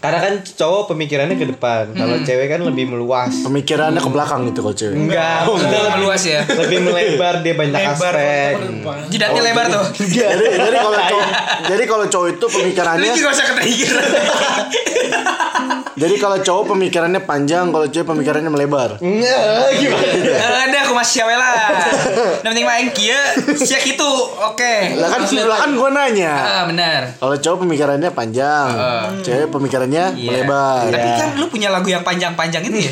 Speaker 7: Karena kan cowok pemikirannya ke depan, kalau cewek kan lebih meluas.
Speaker 4: pemikirannya ke belakang gitu kalau cewek
Speaker 7: Enggak,
Speaker 2: Udah meluas ya.
Speaker 7: lebih melebar dia banyak aspek.
Speaker 2: Jidatnya lebar tuh.
Speaker 4: jadi jadi kalau cowok jadi kalau cowok itu
Speaker 2: Lu
Speaker 4: pemikirannya
Speaker 2: juga usah ketrigger.
Speaker 4: jadi kalau cowok pemikirannya panjang kalau cewek pemikirannya melebar
Speaker 7: Enggak, gimana?
Speaker 2: Ada aku masih siapa lah. Yang penting main kia, siak itu, gitu. oke.
Speaker 4: lah kan lah kan gue nanya
Speaker 2: Ah benar.
Speaker 4: kalau cowok pemikirannya panjang cewek pemikirannya
Speaker 2: Iya.
Speaker 4: melebar
Speaker 2: Tapi kan lu punya lagu yang panjang-panjang itu ya.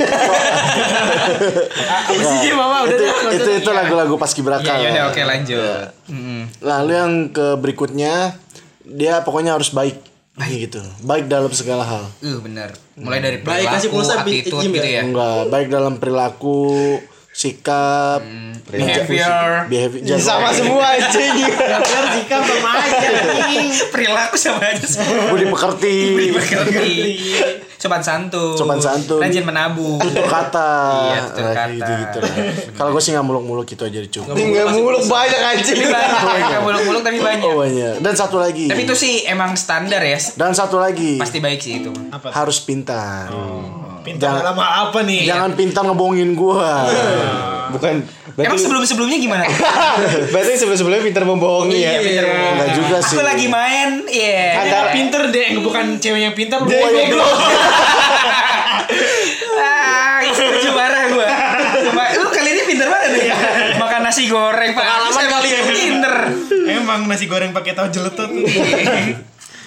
Speaker 2: Ah,
Speaker 6: Apa sih Jim mama udah
Speaker 4: itu
Speaker 6: deh. nggak
Speaker 4: itu
Speaker 6: usah.
Speaker 4: itu lagu-lagu paskibraka
Speaker 2: Iya,
Speaker 4: lah.
Speaker 2: yaudah oke lanjut. Mm-mm.
Speaker 4: lalu yang ke berikutnya dia pokoknya harus baik Ini gitu baik dalam segala hal
Speaker 2: Uh benar. Mulai dari
Speaker 5: Baik,
Speaker 2: perilaku,
Speaker 5: kasih pulsa, bi-
Speaker 2: attitude
Speaker 5: Jim, ya?
Speaker 2: gitu ya.
Speaker 4: enggak baik dalam perilaku sikap
Speaker 2: Hmm, Behavior,
Speaker 4: behavior jaga-
Speaker 7: Sama semua anjing.
Speaker 6: Biar sikap sama aja.
Speaker 2: perilaku sama aja semua.
Speaker 4: budi pekerti
Speaker 2: Budi pekerti, sopan santun,
Speaker 4: Sopan santun.
Speaker 2: rajin menabung,
Speaker 4: tutur kata
Speaker 2: Iya, tutur kata.
Speaker 4: gitu gitu kalau gue sih nggak muluk-muluk gitu aja cukup
Speaker 7: Enggak muluk banyak anjing.
Speaker 2: Tapi banyak, nggak muluk-muluk tapi banyak.
Speaker 4: oh banyak dan satu lagi
Speaker 2: Tapi itu sih emang standar ya.
Speaker 4: dan satu lagi
Speaker 2: Pasti baik sih itu.
Speaker 6: Apa? tuh?
Speaker 4: harus pintar
Speaker 6: Pintar
Speaker 4: Jangan-
Speaker 6: dalam apa nih?
Speaker 4: jangan pintar ngebohongin gua
Speaker 7: Bukan.
Speaker 2: Emang
Speaker 7: Berarti
Speaker 2: sebelum-sebelumnya gimana?
Speaker 7: berarti sebelum-sebelumnya pintar membohongi ya.
Speaker 4: enggak juga sih
Speaker 2: Iya, Aku lagi main, iya.
Speaker 6: Dia nggak pinter deh, bukan cewek yang pinter.
Speaker 7: Dia
Speaker 6: boy yang
Speaker 7: goblok.
Speaker 2: Ah, setuju parah gue. Cuma lu kali ini pinter banget ya. Makan nasi goreng Pak. Pengalaman kali ya. Pinter.
Speaker 6: Emang nasi goreng pakai tahu jeletut.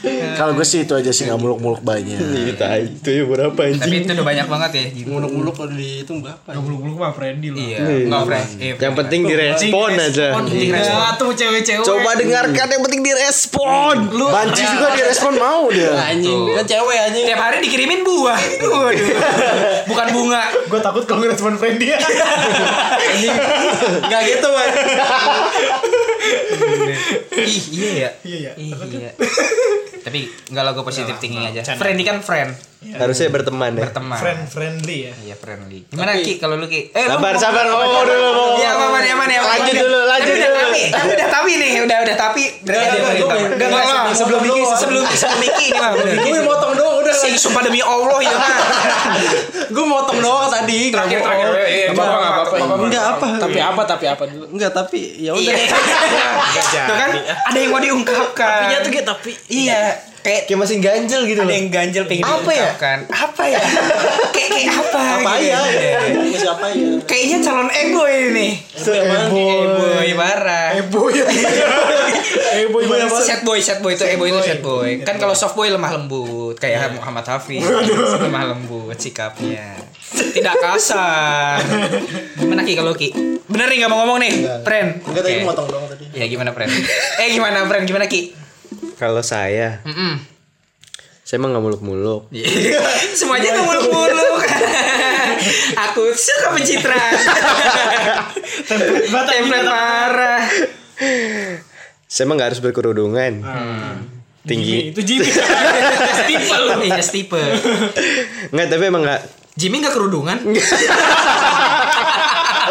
Speaker 6: Iya.
Speaker 4: kalau gue sih itu aja sih nggak muluk-muluk banyak
Speaker 7: Kita itu ya berapa
Speaker 2: Tapi
Speaker 7: anjing?
Speaker 2: itu udah banyak banget ya. Jim.
Speaker 5: Muluk-muluk kalau dihitung berapa?
Speaker 6: Gak belum mah Freddy loh.
Speaker 2: Iya. Enggak fresh. Iya,
Speaker 7: Yang
Speaker 2: bener.
Speaker 7: penting direspon aja.
Speaker 6: Iya, tuh cewek-cewek.
Speaker 7: Coba dengarkan yang penting direspon.
Speaker 6: lu
Speaker 4: banci juga direspon
Speaker 7: Nah,
Speaker 4: mau dia
Speaker 7: iya.
Speaker 5: Anjing, kan cewek anjing.
Speaker 2: tiap hari dikirimin buah. Waduh. Bukan bunga.
Speaker 6: Gue takut kalau ngerespon Freddy ya.
Speaker 5: Enggak gitu, Bang.
Speaker 2: Ih, iya ya.
Speaker 6: Iya, iya.
Speaker 2: Ih, iya. Tapi enggak lah gue positif thinking aja. Friendly kan friend,
Speaker 7: Harusnya berteman ya.
Speaker 2: berteman.
Speaker 6: Friend friendly ya.
Speaker 2: Iya friendly. Gimana Ki kalau lu Ki? Eh, lu
Speaker 7: Sabar,
Speaker 2: mau-
Speaker 7: sabar, ngomong dulu, ngomong.
Speaker 2: Iya, aman, aman, ya.
Speaker 7: Lanjut dulu, lanjut
Speaker 2: tapi
Speaker 7: dulu.
Speaker 2: Udah tapi, tapi udah tapi nih, udah udah tapi. Berarti
Speaker 5: Enggak,
Speaker 2: dia
Speaker 5: enggak,
Speaker 2: beritahu.
Speaker 5: enggak,
Speaker 2: Enggak,
Speaker 5: enggak,
Speaker 2: enggak,
Speaker 5: sebelum-
Speaker 2: sebelum Miki, sebelum
Speaker 5: sebelum-
Speaker 2: sebelum Miki ini mah. bener.
Speaker 5: Gue motong doang udah.
Speaker 2: Sing sumpah demi Allah ya mah.
Speaker 5: Gue motong doang tadi.
Speaker 2: Terakhir terakhir. eh, eh, apa-apa, apa-apa.
Speaker 5: Enggak apa. Tapi apa? Tapi apa dulu? Enggak, tapi ya udah.
Speaker 2: Oh, Tuh kan ada yang mau diungkapkan.
Speaker 5: Iya tuh gitu, tapi
Speaker 2: Iya, kayak
Speaker 7: Kayak masih ganjel gitu
Speaker 2: ada
Speaker 7: loh.
Speaker 2: yang ganjel pengen
Speaker 7: Apa ya?
Speaker 2: diungkapkan. Apa ya? Kayak kayak apa?
Speaker 5: apa
Speaker 2: gitu.
Speaker 5: ya? Siapa ya?
Speaker 2: Kayaknya calon ego ini. Ebo ya parah.
Speaker 6: Ebo ya. Ebo ya.
Speaker 2: Set boy, set boy itu ebo itu set boy. Kan kalau soft boy lemah lembut kayak Muhammad Hafiz, lemah lembut sikapnya. Tidak kasar. Gimana Ki kalau Ki? Bener nih nggak mau ngomong nih, friend.
Speaker 5: Enggak
Speaker 2: Oke.
Speaker 5: tadi motong doang tadi.
Speaker 2: Ya gimana friend? Eh gimana friend? Gimana Ki?
Speaker 7: Kalau saya,
Speaker 2: Mm-mm.
Speaker 7: saya emang nggak muluk-muluk.
Speaker 2: Semuanya tuh muluk-muluk. Aku suka pencitraan. Template parah.
Speaker 7: Saya emang nggak harus berkerudungan. Tinggi.
Speaker 6: Itu Jimmy.
Speaker 2: Stipe lu. Iya, stipe.
Speaker 7: Nggak, tapi emang nggak.
Speaker 2: Jimmy nggak kerudungan?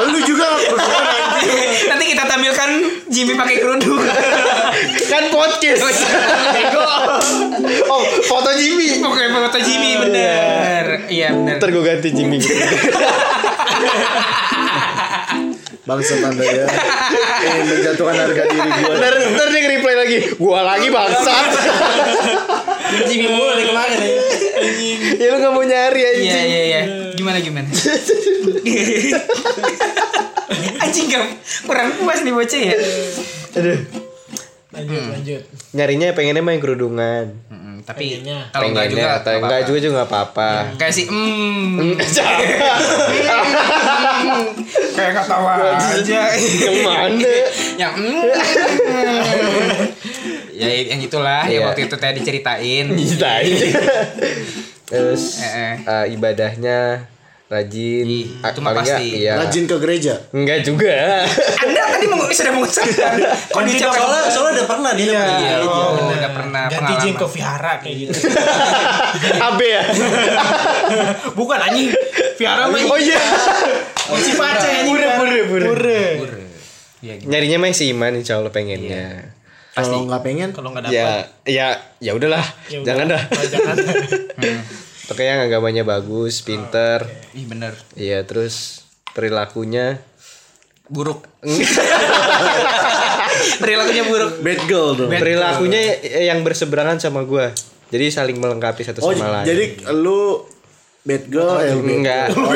Speaker 4: lu juga nggak kerudungan, anjing.
Speaker 2: Nanti kita tampilkan Jimmy pakai kerudung.
Speaker 7: Kan podcast. Oh, foto Jimmy.
Speaker 2: Oke, foto Jimmy bener. Iya bener.
Speaker 7: Ntar gue ganti Jimmy.
Speaker 4: bangsa tanda ya ingin menjatuhkan harga diri gua
Speaker 7: ntar, ntar dia nge-reply lagi. Gua lagi bangsat.
Speaker 5: Jimmy mulu dari kemarin ya.
Speaker 7: ya lu nggak mau nyari aja.
Speaker 2: Iya iya iya. Gimana gimana? Anjing gak kurang puas nih bocah ya.
Speaker 7: Aduh.
Speaker 6: Lanjut, lanjut.
Speaker 7: Nyarinya pengennya main kerudungan.
Speaker 2: Mm-mm, Hmm, tapi
Speaker 6: Pengennya.
Speaker 2: kalau Oh, enggak
Speaker 7: Pengennya
Speaker 2: juga
Speaker 7: atau enggak
Speaker 2: hmm.
Speaker 7: juga juga nggak apa-apa.
Speaker 2: Kayak sih, hmm,
Speaker 6: Kayak nggak tahu aja.
Speaker 7: yang mana
Speaker 2: yang mm. ya yang itulah
Speaker 7: Iya.
Speaker 2: ya waktu itu tadi diceritain
Speaker 7: terus
Speaker 2: Eh, eh.
Speaker 7: eh, ibadahnya rajin
Speaker 2: Itu
Speaker 7: Ah,
Speaker 2: mah
Speaker 7: paling nggak,
Speaker 2: pasti.
Speaker 7: iya.
Speaker 4: Rajin ke gereja.
Speaker 7: enggak juga
Speaker 2: anda tadi mau, sudah mengucapkan kondisi
Speaker 5: Tidak, soalnya, soalnya udah pernah dia udah pernah.
Speaker 2: Iya, oh, udah pernah
Speaker 6: Ganti jin ke
Speaker 2: pengalaman.
Speaker 6: Vihara kayak gitu.
Speaker 7: AB ya
Speaker 6: Bukan anjing. Vihara mah
Speaker 7: oh iya
Speaker 2: Oh,
Speaker 6: si pace anjing.
Speaker 7: Pura, pura, pura.
Speaker 6: Pure.
Speaker 2: Iya, gitu.
Speaker 7: nyarinya mah si iman insya Allah pengennya
Speaker 4: Kalau nggak pengen,
Speaker 6: Kalau
Speaker 2: Iya.
Speaker 6: nggak dapat.
Speaker 7: ya ya ya udahlah
Speaker 6: ya udah.
Speaker 7: jangan dah
Speaker 6: Oh, jangan.
Speaker 7: pokoknya agamanya bagus pinter
Speaker 2: ih bener
Speaker 7: iya terus perilakunya
Speaker 2: buruk perilakunya buruk
Speaker 4: bad girl dong.
Speaker 7: perilakunya yang berseberangan sama gua jadi saling melengkapi satu
Speaker 4: Oh,
Speaker 7: sama lain
Speaker 4: jadi lu bad girl, eh, lu bad-
Speaker 7: enggak Lu-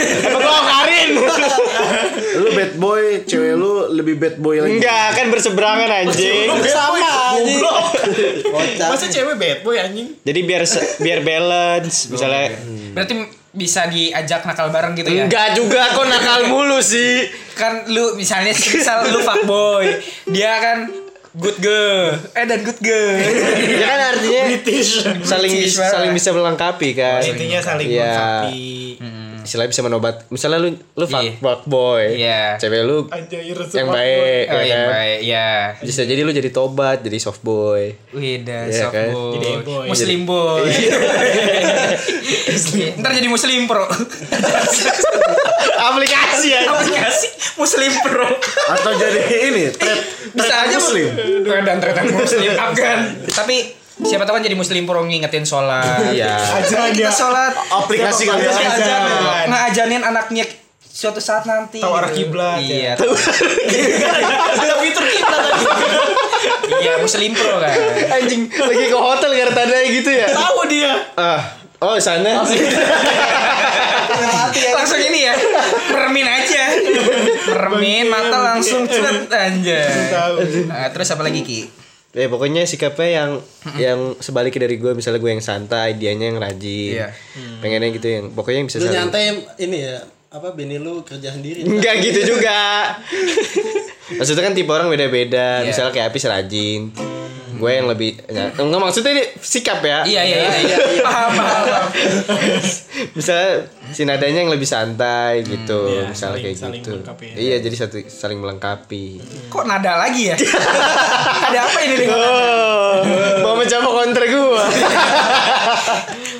Speaker 7: emang gua Karin
Speaker 4: lu bad boy, cewek lu lebih bad boy lagi.
Speaker 7: enggak kan berseberangan anjing
Speaker 6: Sama anjing.
Speaker 5: Kocak.
Speaker 2: Nah.
Speaker 6: Masa cewek bad boy anjing?
Speaker 7: jadi biar se- biar balance misalnya Iya.
Speaker 2: berarti bisa diajak nakal bareng gitu ya
Speaker 7: enggak juga kok nakal mulu sih
Speaker 2: kan lu misalnya misal lu fuckboy dia kan good girl eh dan good girl
Speaker 7: ya kan artinya saling
Speaker 2: British banget.
Speaker 7: saling bisa melengkapi kan
Speaker 6: Oh, Intinya saling
Speaker 7: Iya.
Speaker 6: melengkapi.
Speaker 7: istilahnya bisa menobat misalnya lu lu fuck,
Speaker 2: Iya.
Speaker 7: boy
Speaker 2: Iya.
Speaker 7: cewek lu
Speaker 6: Anjay, resu
Speaker 7: yang
Speaker 6: fuckboy.
Speaker 7: baik
Speaker 2: oh
Speaker 7: ya
Speaker 2: iya
Speaker 7: kan?
Speaker 2: baik ya
Speaker 7: bisa jadi lu jadi tobat jadi soft boy
Speaker 2: Wida,
Speaker 7: Iya,
Speaker 2: soft
Speaker 7: kan? Iya.
Speaker 2: boy.
Speaker 6: Jadi boy.
Speaker 2: Muslim boy. Ntar jadi Muslim pro.
Speaker 7: aplikasi ya
Speaker 2: Aplikasi Muslim pro.
Speaker 4: Atau jadi ini, trap,
Speaker 2: Bisa aja Muslim. Dan ternyata Muslim Afgan. Tapi siapa tahu kan jadi Muslim pro ngingetin sholat.
Speaker 7: iya
Speaker 6: Aja Iya.
Speaker 2: Kita
Speaker 6: dia.
Speaker 2: sholat.
Speaker 4: aplikasi kali
Speaker 2: Terus
Speaker 4: ya.
Speaker 2: ngajar, ngajanin anaknya suatu saat nanti.
Speaker 6: Tahu arah
Speaker 2: gitu.
Speaker 6: kiblat,
Speaker 2: Iya. Tahu
Speaker 6: Ada fitur kita tadi.
Speaker 2: Iya, Muslim pro kan.
Speaker 7: anjing lagi ke hotel gara tandanya gitu ya
Speaker 6: Tahu dia.
Speaker 7: ah oh sana
Speaker 2: Langsung ini ya. Mermin aja. Mermin mata langsung cet anjay. Nah, terus apa lagi Ki?
Speaker 7: ya pokoknya sikapnya yang yang sebaliknya dari gue misalnya gue yang santai dianya yang rajin
Speaker 2: Iya.
Speaker 7: pengennya gitu yang pokoknya yang bisa
Speaker 5: Lu
Speaker 7: saling-
Speaker 5: nyantai ini ya apa bini lu kerja sendiri
Speaker 7: Enggak gitu juga. maksudnya kan tipe orang beda-beda.
Speaker 6: Iya.
Speaker 7: Misalnya kayak Apis rajin. Gue yang lebih enggak, enggak, maksudnya ini sikap ya.
Speaker 2: Iya iya iya, iya. Paham paham.
Speaker 7: Misalnya si nadanya yang lebih santai gitu,
Speaker 6: iya,
Speaker 7: misalnya
Speaker 6: saling-
Speaker 7: kayak
Speaker 6: saling
Speaker 7: gitu.
Speaker 6: melengkapi ya.
Speaker 7: Iya, jadi satu saling melengkapi.
Speaker 2: Kok nada lagi ya? Ada apa ini dengan nada?
Speaker 7: Oh, mau mencoba kontra gue.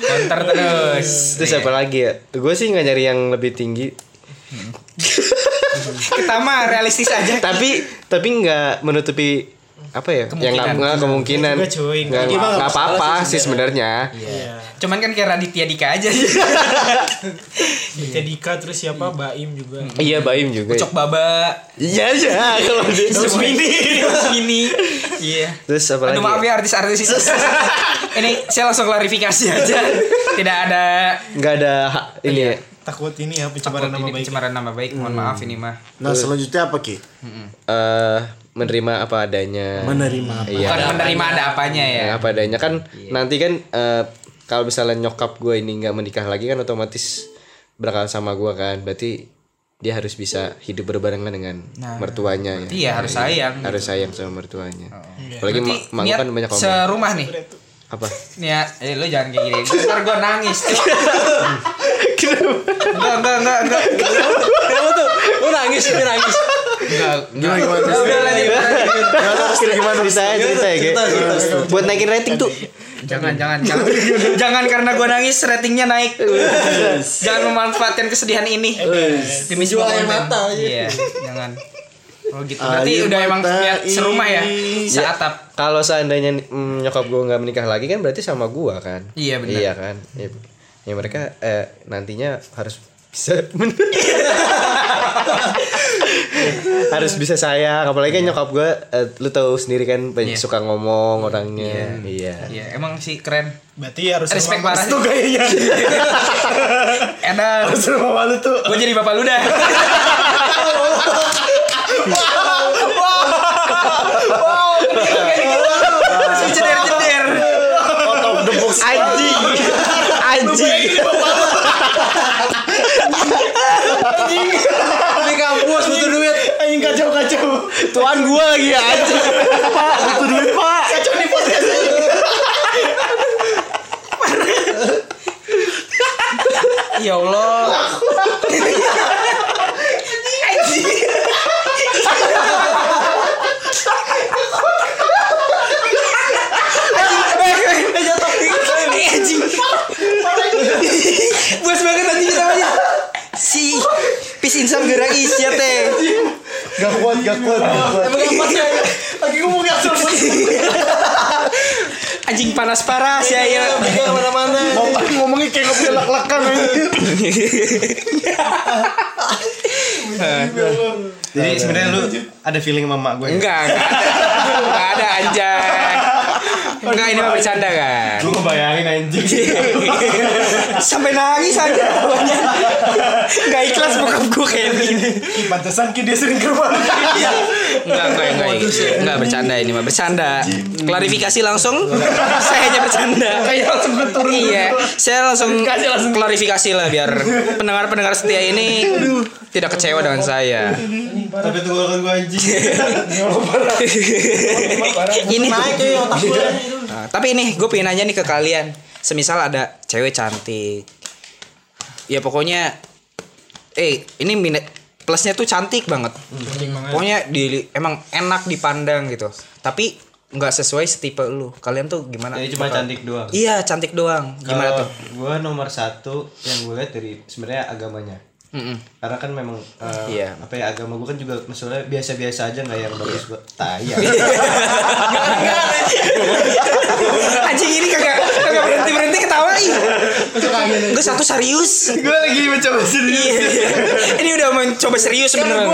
Speaker 2: Konter terus.
Speaker 7: Terus apa lagi ya? Gue sih nggak nyari yang lebih tinggi,
Speaker 2: Kita mah realistis aja.
Speaker 7: tapi tapi nggak menutupi apa ya? Yang nggak nggak kemungkinan.
Speaker 6: Juga, cuy.
Speaker 7: Nggak nggak apa-apa Iya, sih sebenarnya.
Speaker 6: Iya.
Speaker 2: Cuman kan kayak Raditya Dika aja.
Speaker 6: Ditya Dika terus siapa? Baim juga.
Speaker 7: Iya, Baim juga.
Speaker 2: Cok baba.
Speaker 7: Iya aja kalau dia.
Speaker 2: Terus ini. Terus ini. Iya.
Speaker 7: Terus apa lagi?
Speaker 2: Aduh maaf ya artis-artis itu. ini saya langsung klarifikasi aja. Tidak ada
Speaker 7: Enggak ada ha- ini
Speaker 2: Iya.
Speaker 7: ya.
Speaker 6: Takut ini ya
Speaker 2: Takut
Speaker 6: pencemaran nama
Speaker 2: ini
Speaker 6: baik.
Speaker 2: pencemaran nama baik. Mohon maaf ini mah.
Speaker 4: Nah, selanjutnya apa Ki?
Speaker 7: Eh, menerima apa adanya.
Speaker 4: Menerima apa?
Speaker 7: Iya.
Speaker 2: Bukan menerima ada apanya ya.
Speaker 7: Apa adanya kan nanti kan eh, kalau misalnya nyokap gue ini nggak menikah lagi kan otomatis berakal sama gue kan. Berarti dia harus bisa hidup berbarengan dengan mertuanya ya.
Speaker 2: Iya harus sayang.
Speaker 7: Harus sayang sama mertuanya. Apalagi
Speaker 2: Berarti
Speaker 7: mak mak gua
Speaker 2: niat
Speaker 7: kan banyak ngomong.
Speaker 2: serumah nih.
Speaker 7: Apa?
Speaker 2: Ya, eh lu jangan kayak gini. Ntar gua nangis. Kenapa? Enggak, enggak, enggak, enggak.
Speaker 5: lu nangis lu nangis
Speaker 2: Enggak.
Speaker 4: Gimana gimana?
Speaker 2: Udah, udah, lanjut, lanjut.
Speaker 4: Gimana terus Ki? gimana?
Speaker 7: Cerita aja cerita ya. Ge. Buat naikin rating tuh.
Speaker 2: Jangan, jangan, jangan. Jangan karena gua nangis ratingnya naik. Jangan memanfaatkan kesedihan ini. Demi
Speaker 5: Menjual
Speaker 2: sebuah
Speaker 5: air
Speaker 2: konten.
Speaker 5: mata, iya.
Speaker 2: Iya, jangan. Oh gitu. Berarti
Speaker 4: Air
Speaker 2: udah emang
Speaker 4: mata
Speaker 2: niat serumah ya.
Speaker 4: ini.
Speaker 2: Seatap.
Speaker 7: Kalau seandainya mm, nyokap gue nggak menikah lagi kan berarti sama gua kan.
Speaker 2: Iya, benar.
Speaker 7: Iya kan. Ya, ya mereka eh, nantinya harus bisa harus bisa sayang apalagi kan nyokap gue lu tahu sendiri kan banyak
Speaker 2: Iya.
Speaker 7: suka ngomong orangnya iya
Speaker 2: Iya, emang sih keren.
Speaker 6: Berarti harus
Speaker 2: Respect
Speaker 6: sama-
Speaker 2: parah. Itu kayaknya. Enak.
Speaker 6: Terus bapak lu tuh.
Speaker 2: Gue jadi bapak lu dah. Jeder-jeder.
Speaker 7: anjing anjing
Speaker 4: gua lagi ya anjing. Pak, butuh duit, Pak.
Speaker 6: Kacau nih podcast ini.
Speaker 2: Ya Allah. Bos banget anjing kita aja. Si pis insam gerak isya teh.
Speaker 4: Gak kuat, gak kuat. gak kuat.
Speaker 6: Lagi ngomong ya, kacau.
Speaker 2: Anjing panas parah sih
Speaker 6: Iya,
Speaker 2: ya.
Speaker 4: Mau tapi ngomongnya kayak ngopi lak-lakan anjing.
Speaker 8: Jadi sebenarnya lu ada feeling sama emak gue. ya?
Speaker 2: Enggak, enggak ada. Enggak ada anjay. Enggak ini mah bercanda kan.
Speaker 8: Lu ngebayangin anjing.
Speaker 2: Sampai nangis aja bawahnya. Enggak ikhlas bokap gue kayak gini.
Speaker 8: Ih, Pantesan ki dia sering ke rumah lu.
Speaker 2: Enggak, enggak, enggak. Enggak bercanda ini mah bercanda. Klarifikasi langsung. saya hanya bercanda. Kayak langsung Iya, saya langsung klarifikasi lah biar pendengar-pendengar setia ini tidak kecewa dengan saya.
Speaker 8: Tapi tenggorokan gue anjing.
Speaker 2: ini Nah, tapi ini gue pengen nanya nih ke kalian semisal ada cewek cantik ya pokoknya eh ini minat plusnya tuh cantik banget
Speaker 8: Hmm,
Speaker 2: pokoknya di emang enak dipandang gitu tapi nggak sesuai setipe lu kalian tuh gimana
Speaker 8: Jadi cuma cantik doang.
Speaker 2: iya cantik doang gimana tuh
Speaker 8: Gue Eh, nomor satu yang gue lihat dari sebenarnya agamanya.
Speaker 2: Mm-mm.
Speaker 8: Karena kan memang eh,
Speaker 2: Iya.
Speaker 8: apa ya agama gue kan juga maksudnya biasa-biasa aja nggak yang bagus ya. gue tayang.
Speaker 2: Iya. anjing ini kagak kagak berhenti berhenti ketawa ih gue satu serius Iya.
Speaker 8: gue lagi mencoba sendiri.
Speaker 2: ini udah mencoba serius beneran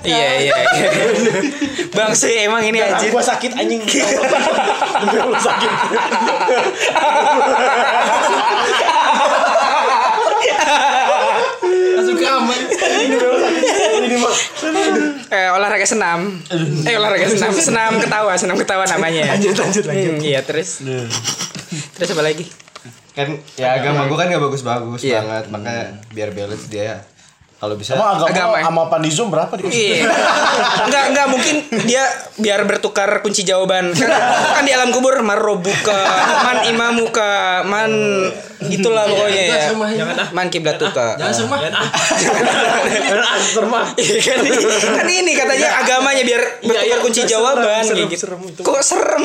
Speaker 2: iya iya iya. bang sih emang ini anjir
Speaker 8: Gue sakit anjing.
Speaker 2: eh, olahraga senam eh olahraga senam senam ketawa senam ketawa namanya lanjut lanjut lanjut iya terus terus apa lagi
Speaker 8: kan ya agama gue kan nggak bagus-bagus
Speaker 2: Iya.
Speaker 8: banget makanya biar balance dia kalau bisa
Speaker 4: Emang
Speaker 2: Agama.
Speaker 4: agama, sama panizum berapa
Speaker 2: Iya.
Speaker 4: dikasih?
Speaker 2: Enggak, enggak mungkin dia biar bertukar kunci jawaban. Kan, kan di alam kubur marobuka, man imamuka, man itulah pokoknya ya. Man kiblatuka.
Speaker 6: ah.
Speaker 5: Jangan sermah.
Speaker 2: Iya kan, kan ini katanya agamanya biar bertukar kunci jawaban kayak gitu. Kok serem?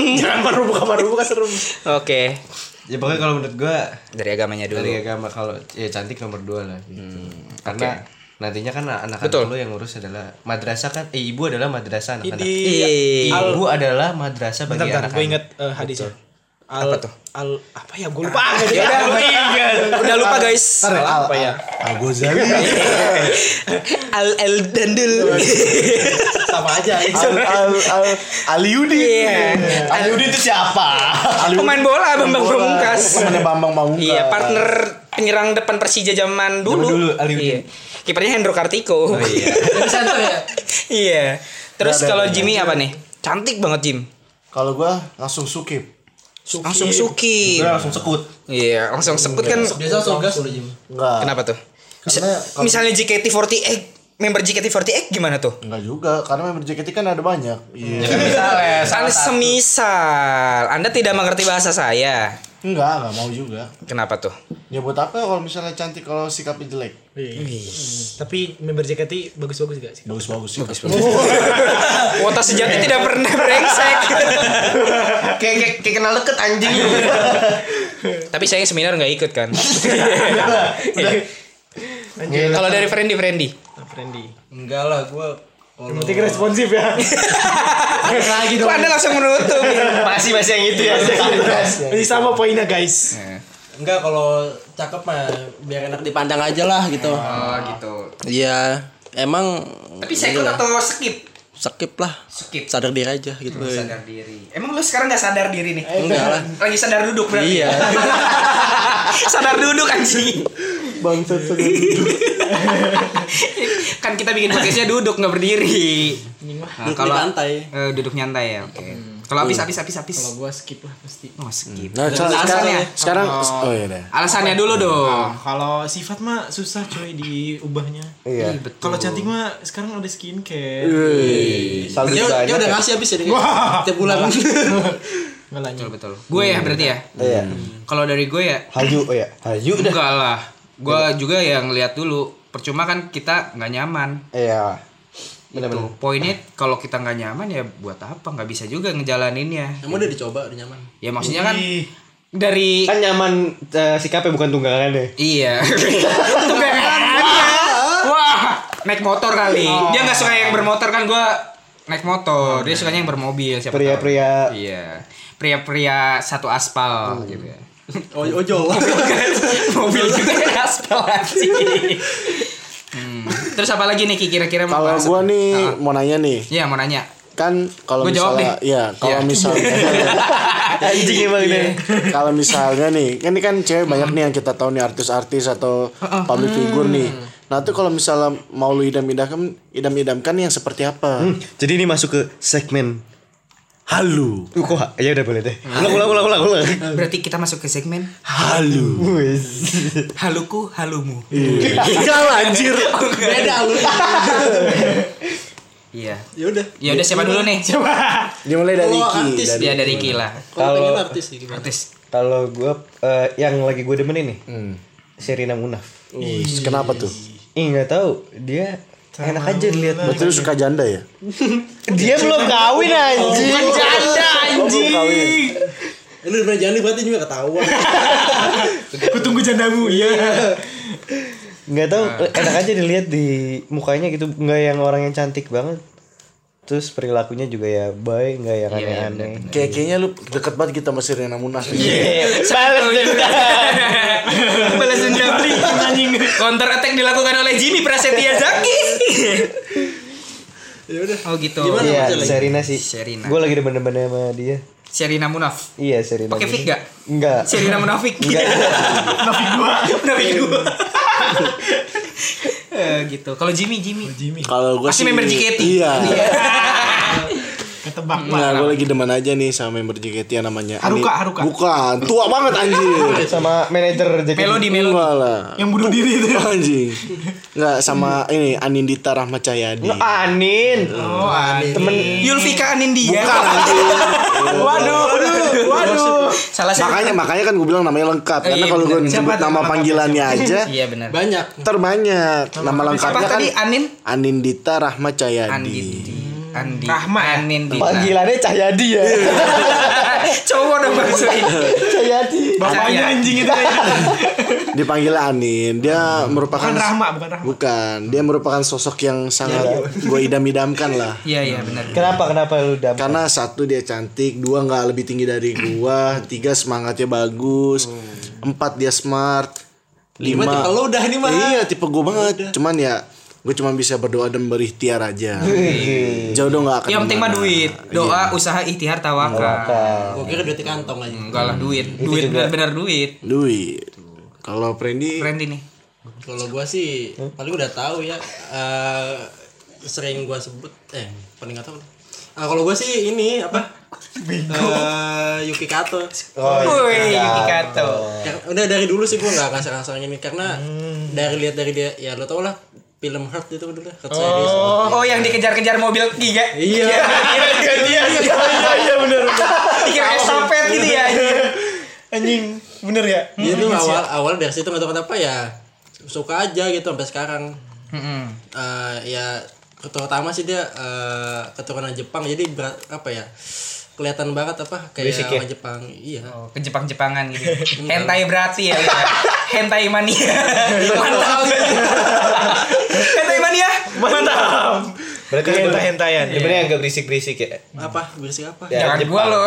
Speaker 2: Oke,
Speaker 8: ya pokoknya kalau menurut gue
Speaker 2: dari agamanya dulu.
Speaker 8: dari agama kalau ya cantik nomor dua lah gitu karena nantinya kan anak-anak
Speaker 2: Hmm, Betul.
Speaker 8: lo yang ngurus adalah madrasah kan eh, ibu adalah madrasah anak-anak
Speaker 2: Iya.
Speaker 8: ibu adalah madrasah bagi
Speaker 6: Bentar, bentar, gue
Speaker 8: anak-anak
Speaker 6: inget eh, hadisnya. Al,
Speaker 2: Apa tuh?
Speaker 6: Al, apa ya? Gue lupa. Ya,
Speaker 2: Udah lupa guys.
Speaker 4: Al, apa ya? Al Ghazali.
Speaker 2: Al el dandul. gitu.
Speaker 4: Al Al Al Aliudi.
Speaker 2: Iya.
Speaker 4: Aliudi itu siapa? Aliudi.
Speaker 2: Pemain bola Bambang
Speaker 4: Bola.
Speaker 2: Pamungkas.
Speaker 4: Temannya Bambang Pamungkas.
Speaker 2: Iya, partner penyerang depan Persija zaman dulu.
Speaker 8: dulu, Aliudin.
Speaker 2: iya. Kipernya Hendro Kartiko. iya.
Speaker 5: ya?
Speaker 2: iya. Terus kalau Jimmy apa nih? Cantik banget Jim.
Speaker 4: Kalau gua langsung sukip.
Speaker 2: Langsung suki.
Speaker 8: Gue langsung sekut
Speaker 2: Iya, langsung sebut kan.
Speaker 5: Biasa langsung gas lu Jim.
Speaker 4: Enggak.
Speaker 2: Kenapa tuh? Misa- misalnya JKT48 eh, member JKT48 gimana tuh?
Speaker 4: Enggak juga, karena member JKT kan ada banyak. Iya.
Speaker 2: Anda Kan semisal Anda tidak mengerti bahasa saya.
Speaker 4: Enggak, enggak mau juga.
Speaker 2: Kenapa tuh?
Speaker 4: Ya buat apa kalau misalnya cantik kalau sikapnya jelek?
Speaker 6: Tapi member JKT bagus-bagus gak sih?
Speaker 4: Bagus-bagus sih.
Speaker 2: Wota sejati tidak pernah brengsek.
Speaker 8: kayak kayak, kayak kenal deket anjing
Speaker 2: Tapi saya seminar nggak ikut kan.
Speaker 6: Iya.
Speaker 8: Gila.
Speaker 2: Kalau dari Friendly Friendly.
Speaker 6: Friendly.
Speaker 5: Enggak lah gua
Speaker 6: Yang penting responsif ya.
Speaker 2: Lagi dong. Anda langsung menutup.
Speaker 8: masih masih yang itu ya
Speaker 6: iya, Ini sama poinnya guys.
Speaker 5: enggak kalau cakep mah biar enak dipandang aja lah gitu.
Speaker 2: Oh gitu.
Speaker 5: Iya, emang
Speaker 2: Tapi saya atau skip?
Speaker 5: skip lah.
Speaker 2: Skip. Hmm,
Speaker 5: Sadar diri aja gitu.
Speaker 2: Sadar diri. Emang lu sekarang nggak sadar diri nih?
Speaker 5: Enggak lah.
Speaker 2: Lagi sadar duduk berarti.
Speaker 5: Iya.
Speaker 2: sadar duduk anjing.
Speaker 4: Bangsat
Speaker 2: kan kita bikin podcastnya duduk nggak berdiri. Nah,
Speaker 5: Duduk di lantai.
Speaker 2: eh, duduk nyantai ya. Oke. Kalau habis habis habis habis.
Speaker 6: Kalau gua skip lah pasti.
Speaker 2: Oh, skip.
Speaker 4: Nah, so- sekarang,
Speaker 2: alasannya.
Speaker 4: sekarang oh iya deh.
Speaker 2: Alasannya dulu dong.
Speaker 6: Nah, kalau sifat mah susah coy diubahnya.
Speaker 7: Iya.
Speaker 6: Kalau cantik mah sekarang udah skincare.
Speaker 2: Nah,
Speaker 7: Saldo
Speaker 5: Dia, dia
Speaker 7: banyak
Speaker 5: udah
Speaker 7: ya?
Speaker 5: ngasih habis jadi tiap bulan.
Speaker 6: Nggak lanjut.
Speaker 2: Betul. Gue ya berarti ya.
Speaker 7: Iya.
Speaker 2: Kalau dari gue ya
Speaker 7: Hayu oh ya. Hayu dah.
Speaker 2: enggak lah. Gue juga yang lihat dulu. Percuma kan kita nggak nyaman.
Speaker 7: Iya.
Speaker 2: Itu poinnya kalau kita nggak nyaman ya buat apa? Nggak bisa juga ngejalaninnya.
Speaker 5: Kamu udah dicoba udah nyaman.
Speaker 2: Ya maksudnya kan dari
Speaker 7: Kan nyaman eh, sikapnya bukan tunggangan deh.
Speaker 2: Iya. Itu gerakannya. Wah, naik motor kali. Dia nggak suka yang bermotor kan gua naik motor. Dia sukanya yang bermobil siapa tahu.
Speaker 7: Pria-pria.
Speaker 2: Iya. Pria-pria satu aspal gitu ya.
Speaker 5: Oh, ojo.
Speaker 2: Mobil juga ada aspal anjing. Hmm. Terus apa lagi nih Ki kira-kira mau
Speaker 4: Kalau
Speaker 2: bahas
Speaker 4: gua
Speaker 2: apa?
Speaker 4: nih mau nanya nih,
Speaker 2: Iya, mau nanya.
Speaker 4: kan kalau
Speaker 2: Gua jawab
Speaker 4: misalnya
Speaker 2: deh.
Speaker 4: ya kalau
Speaker 2: Iya.
Speaker 4: misalnya
Speaker 7: Anjing emang deh.
Speaker 4: kalau misalnya nih kan ini kan cewek banyak nih yang kita tahu nih artis-artis atau
Speaker 6: Hmm.
Speaker 4: public figure nih nah tuh kalau misalnya mau lu idam-idamkan idam-idamkan yang seperti apa
Speaker 7: Jadi ini masuk ke segmen Halu. Uh, kok ya udah boleh deh. Ulang ulang ulang ulang ulang.
Speaker 2: Berarti kita masuk ke segmen
Speaker 4: halu
Speaker 2: Haluku Halumu.
Speaker 4: jangan anjir
Speaker 5: Beda lu.
Speaker 2: Iya.
Speaker 5: Ya udah.
Speaker 2: Ya udah siapa dulu nih? Coba.
Speaker 4: dimulai dari
Speaker 5: Kalau
Speaker 4: Ki
Speaker 5: artis
Speaker 4: dari-
Speaker 2: Dia dari Ki lah.
Speaker 5: Kalau
Speaker 7: Kalau-
Speaker 5: pengen artis sih gimana?
Speaker 2: Artis.
Speaker 7: Kalau gua eh, yang lagi gue demenin nih. Serena Munaf.
Speaker 4: Wih, kenapa tuh
Speaker 7: Ih nggak tahu dia enak aja dilihat
Speaker 4: berarti lu suka janda ya
Speaker 7: dia belum kawin anjing
Speaker 2: Janda anjing.
Speaker 5: Eh, Lu udah jangan berarti juga ketahuan.
Speaker 6: Ku tunggu jandamu. Iya.
Speaker 7: nggak tahu enak aja dilihat di mukanya gitu nggak yang orang yang cantik banget terus perilakunya juga ya baik nggak yang aneh-aneh
Speaker 4: kayak kayaknya lu deket banget kita sama Serena Munaf
Speaker 6: Iya.
Speaker 7: Balas dendam.
Speaker 2: Balas dendam Counter attack dilakukan oleh Jimmy Prasetya Zaki.
Speaker 5: Ya udah.
Speaker 2: Oh gitu.
Speaker 5: Gimana?
Speaker 7: iya
Speaker 5: Apa lagi?
Speaker 7: Serena sih
Speaker 2: Serena.
Speaker 7: gue lagi demen-demen sama dia
Speaker 2: Serina Munaf.
Speaker 7: iya Serena
Speaker 2: Pakai fit gak?
Speaker 7: Enggak
Speaker 2: Serina Munafik. Munafik gua. Munafik gua. Eh, gitu. Kalau Jimmy, Jimmy.
Speaker 4: kalau gue
Speaker 2: Pasti member JKT.
Speaker 4: iya
Speaker 6: Ketebak lah.
Speaker 4: Nah, gue lagi demen aja nih sama member JKT yang namanya
Speaker 6: Haruka,
Speaker 4: Ani-
Speaker 6: Haruka.
Speaker 4: Bukan, tua banget anjir
Speaker 7: sama manajer JKT
Speaker 2: Melodi, melodi.
Speaker 4: Enggak lah
Speaker 6: Yang bunuh diri itu. ya.
Speaker 4: Anjing Enggak, sama ini Anindita Rahmat Cahyadi
Speaker 7: Anin
Speaker 2: Oh, temen Yulvika Anindia.
Speaker 6: Waduh, waduh, waduh.
Speaker 2: Salah saya.
Speaker 4: makanya makanya kan gue bilang namanya lengkap karena
Speaker 2: iya,
Speaker 4: kalau gue
Speaker 2: bener. Siapa
Speaker 4: nyebut nama
Speaker 2: nama
Speaker 4: panggilannya aja
Speaker 2: Iya benar.
Speaker 5: Banyak.
Speaker 4: terbanyak nama
Speaker 2: Apa
Speaker 4: lengkapnya kan
Speaker 2: tadi Anin?
Speaker 4: Anindita Rahmat Cahyadi
Speaker 2: Andindi. Andi.
Speaker 6: Rahma ya?
Speaker 2: Anindita.
Speaker 7: panggilannya Cahyadi ya
Speaker 2: Iya. Cowok dong Bang Sri.
Speaker 7: Cahyadi
Speaker 6: Bapaknya
Speaker 2: Saya.
Speaker 6: anjing Iya, itu.
Speaker 2: ya.
Speaker 4: dipanggil Anin dia merupakan
Speaker 6: Bukan Rahma, bukan Rahma.
Speaker 4: bukan dia merupakan sosok yang sangat gue idam-idamkan lah
Speaker 2: Iya iya benar.
Speaker 7: kenapa kenapa lu dam
Speaker 4: karena satu dia cantik dua nggak lebih tinggi dari gua tiga semangatnya bagus empat dia smart lima
Speaker 5: tipe lo udah nih, mah.
Speaker 4: iya tipe gua banget cuman ya gue cuma bisa berdoa dan berikhtiar aja jauh dong nggak akan
Speaker 2: Yang penting mah
Speaker 4: kemana.
Speaker 2: duit, doa, usaha, ikhtiar, Iya. tawakal.
Speaker 5: Gua kira duit di kantong aja.
Speaker 2: Enggak lah duit, duit benar-benar duit.
Speaker 4: duit kalau Prendi
Speaker 2: Keren ini.
Speaker 5: Kalau gua sih
Speaker 2: Hmm?
Speaker 5: paling udah tahu ya eh, sering gua sebut eh paling nggak tahu. Ah, kalau gua sih ini apa? Eh, Yuki Kato.
Speaker 2: Oh, iya, Woi, Yuki Kato.
Speaker 5: Kar- Udah dari dulu sih gua nggak kasar-kasar ini karena
Speaker 2: Hmm.
Speaker 5: dari lihat dari dia ya lo tau lah film Heart itu dulu lah, Heart Series.
Speaker 2: Oh, yang dikejar-kejar mobil giga.
Speaker 5: Iya.
Speaker 2: Iya, iya, iya benar. Dikira estafet gitu ya. anjing.
Speaker 6: Anjing, bener ya?
Speaker 5: Itu
Speaker 2: Iya,
Speaker 5: awal awal dari situ nggak tahu kenapa ya suka aja gitu sampai sekarang.
Speaker 2: Mm-mm.
Speaker 5: eh ya terutama sih dia eh, keturunan Jepang jadi berat, apa ya kelihatan banget apa kayak orang Jepang iya
Speaker 2: Oh, Ke Jepang-Jepangan gitu. Hentai berarti ya. lu ya. Hentai mania. Iya.
Speaker 5: Iya,
Speaker 2: Mantap. Hentai mania. Mantap.
Speaker 7: berarti ya.
Speaker 6: Hentai-hentayan.
Speaker 7: Sebenarnya yang gak berisik-berisik ya.
Speaker 5: apa berisik apa
Speaker 2: Jangan gua lo.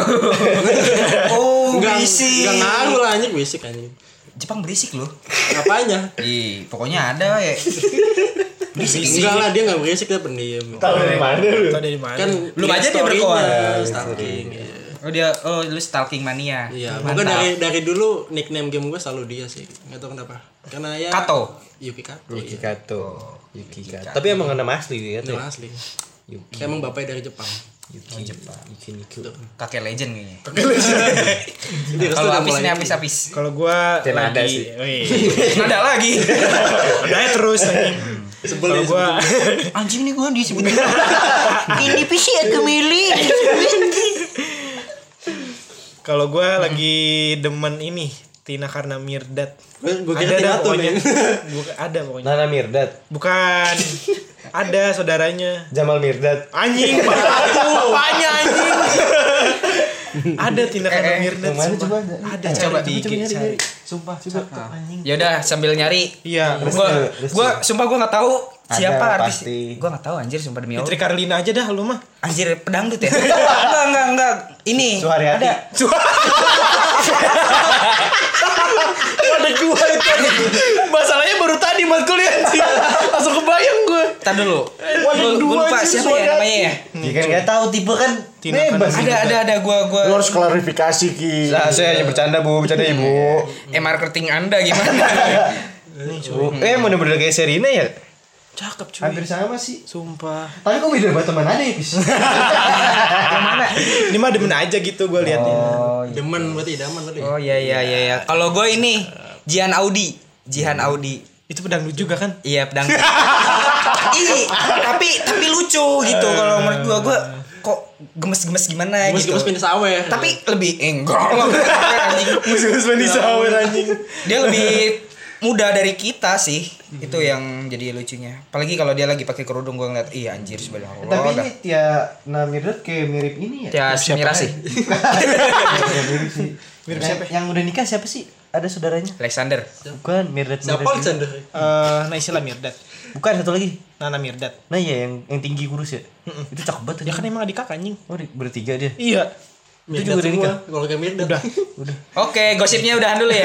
Speaker 2: Oh, berisik.
Speaker 5: Enggak ngaruh lah anjing berisik anjing. ya?
Speaker 2: Jepang berisik loh.
Speaker 5: Apanya?
Speaker 2: Ih, pokoknya ada ya.
Speaker 5: Enggak lah dia enggak berisik dia pendiam.
Speaker 7: Tahu dari mana lu?
Speaker 6: Tahu dari mana?
Speaker 5: Kan
Speaker 2: Belum
Speaker 5: lihat
Speaker 2: aja dia
Speaker 5: story-nya,
Speaker 2: berkoar.
Speaker 5: stalking. iya.
Speaker 2: Oh dia, oh lu stalking mania.
Speaker 5: Iya,
Speaker 2: Mantap.
Speaker 5: mungkin dari dari dulu nickname game gue selalu dia sih. Enggak tahu kenapa. Karena ya
Speaker 2: Kato.
Speaker 5: Yuki Kato.
Speaker 7: Yuki
Speaker 5: Yuki
Speaker 7: Kato. Yuki Kato. Tapi emang nama asli dia
Speaker 6: gitu.
Speaker 5: Itu
Speaker 7: tuh.
Speaker 5: asli. Emang bapaknya dari Jepang.
Speaker 2: Yuki Jepang. Kakek legend kayaknya. Kalau
Speaker 5: udah
Speaker 2: habis
Speaker 5: mulai
Speaker 2: ini habis habis.
Speaker 6: Kalau gua
Speaker 7: Tidak ada
Speaker 6: lagi, Oh, iya,
Speaker 7: sih.
Speaker 6: Wih.
Speaker 2: Ada lagi.
Speaker 6: Naik terus anjing. Kalau
Speaker 5: ya,
Speaker 6: gua
Speaker 2: Anjing nih gua disebutin. ini PC aku milih.
Speaker 6: kalau gua lagi demen ini Tina karena Mirdad. ada Oh,
Speaker 5: Gue kira
Speaker 6: dah
Speaker 5: Tina ya. tuh
Speaker 6: pokoknya.
Speaker 5: nih.
Speaker 6: Bukan ada pokoknya.
Speaker 7: Nana Mirdad,
Speaker 6: Bukan. ada saudaranya.
Speaker 7: Jamal Mirdad.
Speaker 6: Anjing, bapaknya anjing. ada Tina
Speaker 5: Eh,
Speaker 6: karena Mirdad. sumpah. Ada
Speaker 2: Coba
Speaker 6: coba
Speaker 2: di
Speaker 6: cari.
Speaker 7: Sumpah, coba.
Speaker 2: Ya udah sambil nyari.
Speaker 6: Iya,
Speaker 2: Gua gua sumpah gua nggak tahu siapa artis.
Speaker 7: pasti.
Speaker 2: Gua nggak tahu anjir sumpah demi
Speaker 6: Fitri
Speaker 2: Allah.
Speaker 6: Karlina aja dah lu mah.
Speaker 2: Anjir pedangdut ya. enggak enggak enggak. Ini
Speaker 7: Suharyati.
Speaker 2: ada.
Speaker 6: Ada gua itu. Masalahnya baru tadi buat kuliah anjing. Langsung kebayang gua.
Speaker 2: Entar dulu. Gua gua lupa siapa ya namanya ya?
Speaker 7: Dia kan nggak tahu tipe kan.
Speaker 6: Tina
Speaker 7: bebas.
Speaker 6: Karnawati.
Speaker 2: Ada ada ada gua gua.
Speaker 4: Lu harus klarifikasi Ki.
Speaker 7: Nah, saya hanya bercanda bu, bercanda ibu.
Speaker 2: Eh marketing Anda gimana?
Speaker 7: Eh, bener-bener kayak Serina ya?
Speaker 6: Cakep cuy.
Speaker 7: Hampir sama sih.
Speaker 6: Sumpah.
Speaker 7: Tapi kok beda banget teman ada ya, Pis?
Speaker 6: Ah, Ini mah demen aja gitu gua liatnya.
Speaker 7: Oh.
Speaker 5: Demen berarti daman tadi.
Speaker 2: Oh iya iya iya iya. Kalau gue ini Jihan Audi, Jihan Audi.
Speaker 6: Itu pedang lu juga kan?
Speaker 2: Iya pedang. Ih, tapi tapi lucu gitu kalau menurut gua gua kok gemes-gemes gimana
Speaker 5: Gemes
Speaker 2: gitu.
Speaker 5: gemes pindah ya. sawe.
Speaker 2: tapi lebih eh, enggak enggak, enggak, anjing.
Speaker 6: Musuh-musuh di sawer anjing.
Speaker 2: Dia lebih muda dari kita sih. Itu yang jadi lucunya. Apalagi kalau dia lagi pakai kerudung gua ngeliat, iya anjir subhanallah.
Speaker 7: Tapi
Speaker 2: dah.
Speaker 7: ini Tia Namirdad kayak mirip ini ya?
Speaker 2: Ya, Mira sih.
Speaker 7: Ya, mirip sih. Mirip siapa? Yang udah nikah siapa sih? Ada saudaranya?
Speaker 2: Alexander.
Speaker 7: Bukan Mirdad.
Speaker 5: Siapa
Speaker 7: Mirdad juga.
Speaker 5: Alexander?
Speaker 6: Eh, Naisila Mirdad.
Speaker 7: Bukan satu lagi.
Speaker 6: Nana Mirdad.
Speaker 7: Nah iya yang yang tinggi kurus ya. Itu cakep banget.
Speaker 6: Ya kan
Speaker 7: anjing.
Speaker 6: emang adik kakak anjing.
Speaker 7: Oh, di- bertiga dia.
Speaker 6: Iya.
Speaker 5: Mirdat
Speaker 7: juga udah
Speaker 5: semua.
Speaker 7: nikah?
Speaker 5: Kalau kayak Mirdat. Udah.
Speaker 2: Oke, gosipnya udahan dulu ya.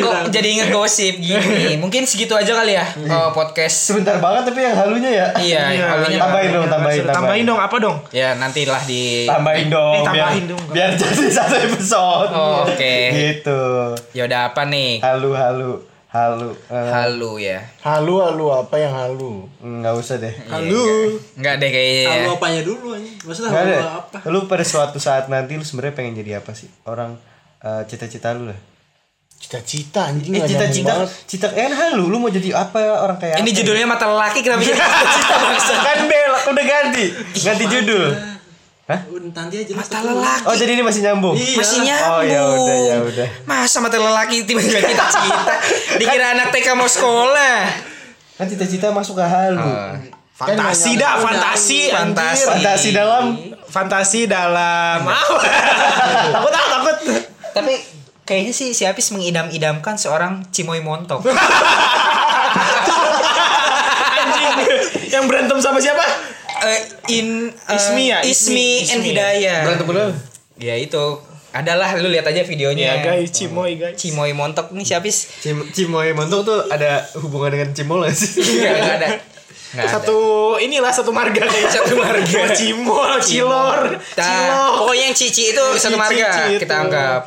Speaker 2: Kok jadi inget gosip gini. Mungkin segitu aja kali ya eh, podcast.
Speaker 7: Sebentar banget tapi yang halunya ya.
Speaker 2: Iya, halunya
Speaker 7: Tambahin dong, tambahin,
Speaker 6: Tambahin, dong apa dong?
Speaker 2: Ya, nantilah di
Speaker 7: Tambahin dong.
Speaker 6: Eh, tambahin
Speaker 7: biar,
Speaker 6: dong.
Speaker 7: Biar jadi satu episode.
Speaker 2: Oh, oke.
Speaker 7: Gitu.
Speaker 2: Ya udah apa nih?
Speaker 7: Halu halu halu. Eh,
Speaker 2: Halu ya.
Speaker 4: Halu halu apa yang halu?
Speaker 7: Nggak usah deh.
Speaker 6: Halo.
Speaker 2: Iya, Enggak deh kayaknya ya.
Speaker 5: Kalau apanya dulu aja. Maksudnya
Speaker 7: Nggak ada.
Speaker 5: kalau apa?
Speaker 7: Lu pada suatu saat nanti lu sebenarnya pengen jadi apa sih? Orang eh, cita-cita lu lah.
Speaker 4: Cita-cita anjing
Speaker 7: Eh
Speaker 4: nggak nyambung
Speaker 7: cita-cita
Speaker 4: banget.
Speaker 7: cita eh, kan halu lu mau jadi apa orang kayak
Speaker 2: Ini
Speaker 7: apa?
Speaker 2: judulnya mata lelaki kenapa jadi cita bangsa?
Speaker 7: kan bel aku udah ganti ganti judul
Speaker 5: Udah, Nanti aja.
Speaker 2: Mata lelaki.
Speaker 7: oh jadi ini masih nyambung
Speaker 2: Masih nyambung.
Speaker 7: Oh, ya udah, ya udah.
Speaker 2: Masa mata lelaki tiba-tiba kita cita. Dikira anak TK mau sekolah.
Speaker 7: kan cita-cita masuk ke halu
Speaker 2: Ah.
Speaker 6: Fantasi dah, fantasi.
Speaker 2: Fantasi.
Speaker 7: fantasi dalam
Speaker 6: Fantasi dalam apa? takut takut takut.
Speaker 2: Tapi kayaknya sih si Apis mengidam-idamkan seorang Cimoy Montok.
Speaker 6: Anjing. Yang berantem sama siapa?
Speaker 2: Eh, in eh,
Speaker 6: Ismi ya,
Speaker 2: Ismi,
Speaker 6: Ismi,
Speaker 2: and
Speaker 6: Ismi.
Speaker 2: Hidayah. Ya itu. Adalah lu lihat aja videonya.
Speaker 6: Ya guys, cimoy guys.
Speaker 2: Cimoy Montok nih si Apis.
Speaker 7: Cim Cimoy Montok tuh ada hubungan dengan Cimol gak sih?
Speaker 2: Enggak enggak ada. Enggak ada.
Speaker 6: Iya, Satu inilah satu marga
Speaker 2: iya.
Speaker 6: kayak
Speaker 2: Satu marga.
Speaker 6: Mau Cimol, cilor,
Speaker 2: Nah,
Speaker 6: cilok.
Speaker 2: pokoknya yang cici itu satu marga kita anggap.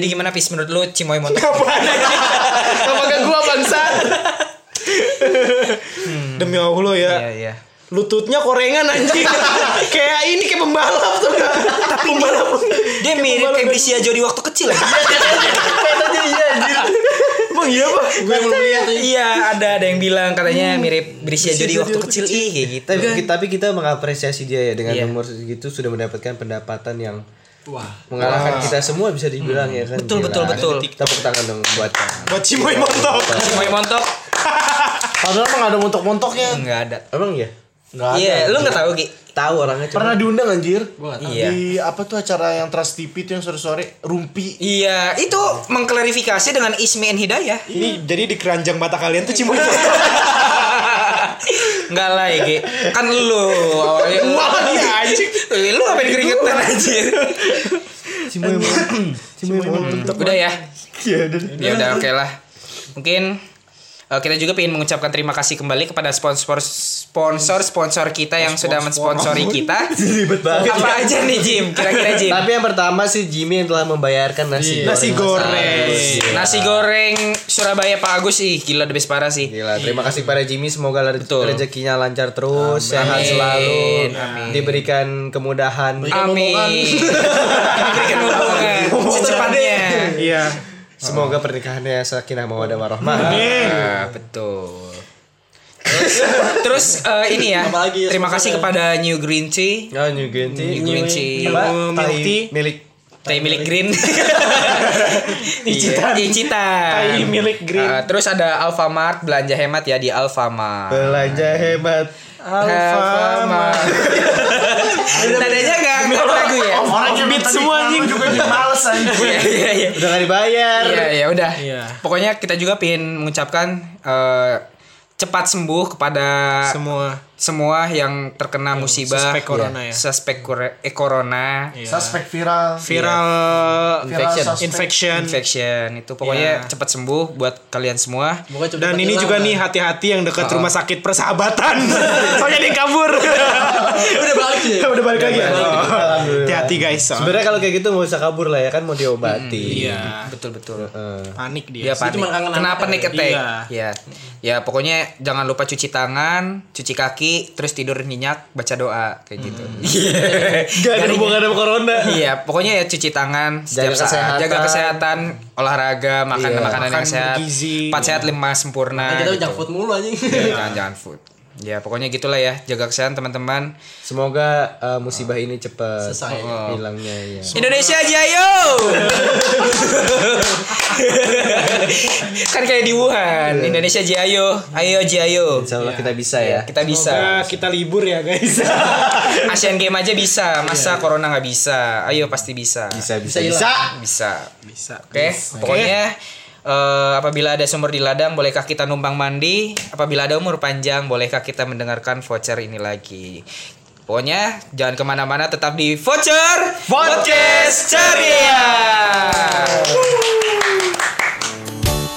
Speaker 2: Jadi gimana pis menurut lu Cimoy Montok?
Speaker 6: Apa ke gua bangsat? Demi Allah ya.
Speaker 2: Iya iya.
Speaker 6: Lututnya korengan anjing. kayak ini kayak pembalap tuh. Tapi pembalap.
Speaker 2: Dia mirip kayak
Speaker 6: pembalap.
Speaker 2: Brisia Jodi waktu kecil. ya?
Speaker 6: Katanya iya anjir. Emang iya, Pak? Hmm.
Speaker 5: Gue belum lihat aja.
Speaker 2: iya, ada ada yang bilang katanya mirip Brisia Jodi waktu kecil. Ih, kayak gitu.
Speaker 7: tapi, kita, tapi kita mengapresiasi dia ya dengan
Speaker 2: Iya.
Speaker 7: nomor segitu sudah mendapatkan pendapatan yang
Speaker 5: Wah.
Speaker 7: mengalahkan kita semua bisa dibilang ya kan.
Speaker 2: Betul, betul, betul.
Speaker 7: Tepuk tangan dong buat.
Speaker 6: Buat Cimoy montok.
Speaker 2: Cimoy Montok?
Speaker 4: Padahal emang ada montok-montoknya.
Speaker 2: Enggak ada.
Speaker 7: Emang ya?
Speaker 4: Enggak ada.
Speaker 2: Iya, lu enggak tahu Ki.
Speaker 7: Tahu orangnya cuma
Speaker 4: Pernah diundang anjir?
Speaker 5: Gua nggak tahu.
Speaker 2: Iya.
Speaker 4: Di apa tuh acara yang Trans TV itu yang sore-sore rumpi.
Speaker 2: Iya, itu mengklarifikasi dengan Ismi and Hidayah.
Speaker 6: Ini jadi di keranjang mata kalian tuh Cimoy montok.
Speaker 2: Enggak lah ya, Ki. Kan lu. Wah, ya, anjing. Lu ngapain keringetan anjir?
Speaker 7: Cimoy Montok. Cimoy Montok.
Speaker 2: Udah ya. Ya udah oke lah. Mungkin eh, kita juga ingin mengucapkan terima kasih kembali kepada sponsor sponsor sponsor kita yang sudah mensponsori kita apa aja nih Jim kira-kira Jim
Speaker 7: Iya. Tapi yang pertama sih Jimmy yang telah membayarkan nasi goreng.
Speaker 6: Nasi goreng.
Speaker 2: Eh,
Speaker 7: Iya.
Speaker 2: nasi goreng Surabaya Pak Agus ih gila the best parah sih
Speaker 7: Gila, terima kasih pada Jimmy semoga re- rezekinya lancar terus, sehat
Speaker 2: Amin.
Speaker 7: selalu,
Speaker 2: Amin.
Speaker 7: diberikan kemudahan.
Speaker 2: Amin berikan hubungan secepatnya
Speaker 6: Iya.
Speaker 7: Semoga pernikahannya sakinah mawaddah warahmah.
Speaker 2: Ah, betul terus, terus eh, ini ya
Speaker 5: Apa lagi ya,
Speaker 2: terima kasih kepada New Green Tea
Speaker 7: Oh, New Green Tea.
Speaker 2: New Green Tea
Speaker 7: Apa?
Speaker 6: New Milk
Speaker 7: Tahi
Speaker 6: Tea.
Speaker 7: Milik
Speaker 2: Teh milik Green. Icitan. Icitan.
Speaker 6: Tai milik Green.
Speaker 2: Eh, terus ada Alfamart belanja hemat ya di Alfamart.
Speaker 7: belanja hebat.
Speaker 4: Ah.
Speaker 2: Alfamart. Tadanya enggak enggak lagu ya.
Speaker 4: Orangnya minta semua anjing juga males anjing.
Speaker 2: Iya iya iya.
Speaker 7: Udah gak dibayar.
Speaker 2: Iya ya udah.
Speaker 6: Iya.
Speaker 2: Pokoknya kita juga pingin mengucapkan eh, cepat sembuh kepada
Speaker 6: Semua.
Speaker 2: semua yang terkena musibah
Speaker 6: suspek corona
Speaker 2: Iya.
Speaker 6: ya. Iya.
Speaker 2: Suspek kore- eh, corona.
Speaker 4: Suspek viral.
Speaker 6: Viral
Speaker 4: Infection.
Speaker 6: infection. Iya.
Speaker 2: Infection itu pokoknya cepat sembuh buat kalian semua.
Speaker 5: Pokoknya cepet
Speaker 6: Dan ini
Speaker 5: hilang,
Speaker 6: juga
Speaker 5: kan?
Speaker 6: nih hati-hati yang dekat rumah sakit persahabatan. Soalnya dia Oh, kabur.
Speaker 5: udah balik sih.
Speaker 6: Udah balik lagi ya.
Speaker 5: balik.
Speaker 6: Oh, Hati-hati guys. soalnya
Speaker 7: Sebenarnya kalau kayak gitu nggak usah kabur lah ya kan mau diobati.
Speaker 6: Iya.
Speaker 2: Betul betul.
Speaker 6: Panik dia.
Speaker 2: Dia panik.
Speaker 5: cuma kangen
Speaker 2: Iya, Kenapa
Speaker 5: aja.
Speaker 2: nih ketek?
Speaker 6: Iya.
Speaker 2: Ya. Ya, pokoknya jangan lupa cuci tangan, cuci kaki, terus tidur nyenyak, baca doa kayak gitu. Iya.
Speaker 7: Gak ada hubungan sama corona.
Speaker 2: Iya, pokoknya ya cuci tangan setiap
Speaker 7: Jaga
Speaker 2: saat,
Speaker 7: kesehatan.
Speaker 2: jaga kesehatan, olahraga, makan
Speaker 7: Iya.
Speaker 2: makanan yang
Speaker 6: Makan
Speaker 2: sehat,
Speaker 6: bergizi.
Speaker 2: empat sehat lima sempurna.
Speaker 5: Kita
Speaker 2: gitu.
Speaker 5: junk food mulu anjing.
Speaker 2: Iya, Jangan jangan food. Ya, pokoknya gitulah ya, jaga kesehatan teman-teman.
Speaker 7: Semoga eh, musibah ini cepat
Speaker 5: Selesai.
Speaker 7: hilangnya ya.
Speaker 2: Iya. Indonesia Jayo. kan kayak di
Speaker 7: Iya.
Speaker 2: Wuhan, Indonesia Jayo. Ayo Jayo.
Speaker 7: Insya Allah kita bisa ya.
Speaker 2: Kita bisa.
Speaker 6: Semoga kita libur ya guys.
Speaker 2: Asian Game aja bisa, masa corona nggak bisa? Ayo pasti bisa.
Speaker 7: Bisa bisa.
Speaker 5: Bisa hilang.
Speaker 2: Bisa.
Speaker 6: Bisa.
Speaker 2: Oke, pokoknya eh, apabila ada sumber di ladang, bolehkah kita numpang mandi? Apabila ada umur panjang, bolehkah kita mendengarkan voucher ini lagi? Pokoknya jangan kemana-mana, tetap di voucher podcast ceria.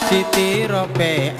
Speaker 1: Siti Rope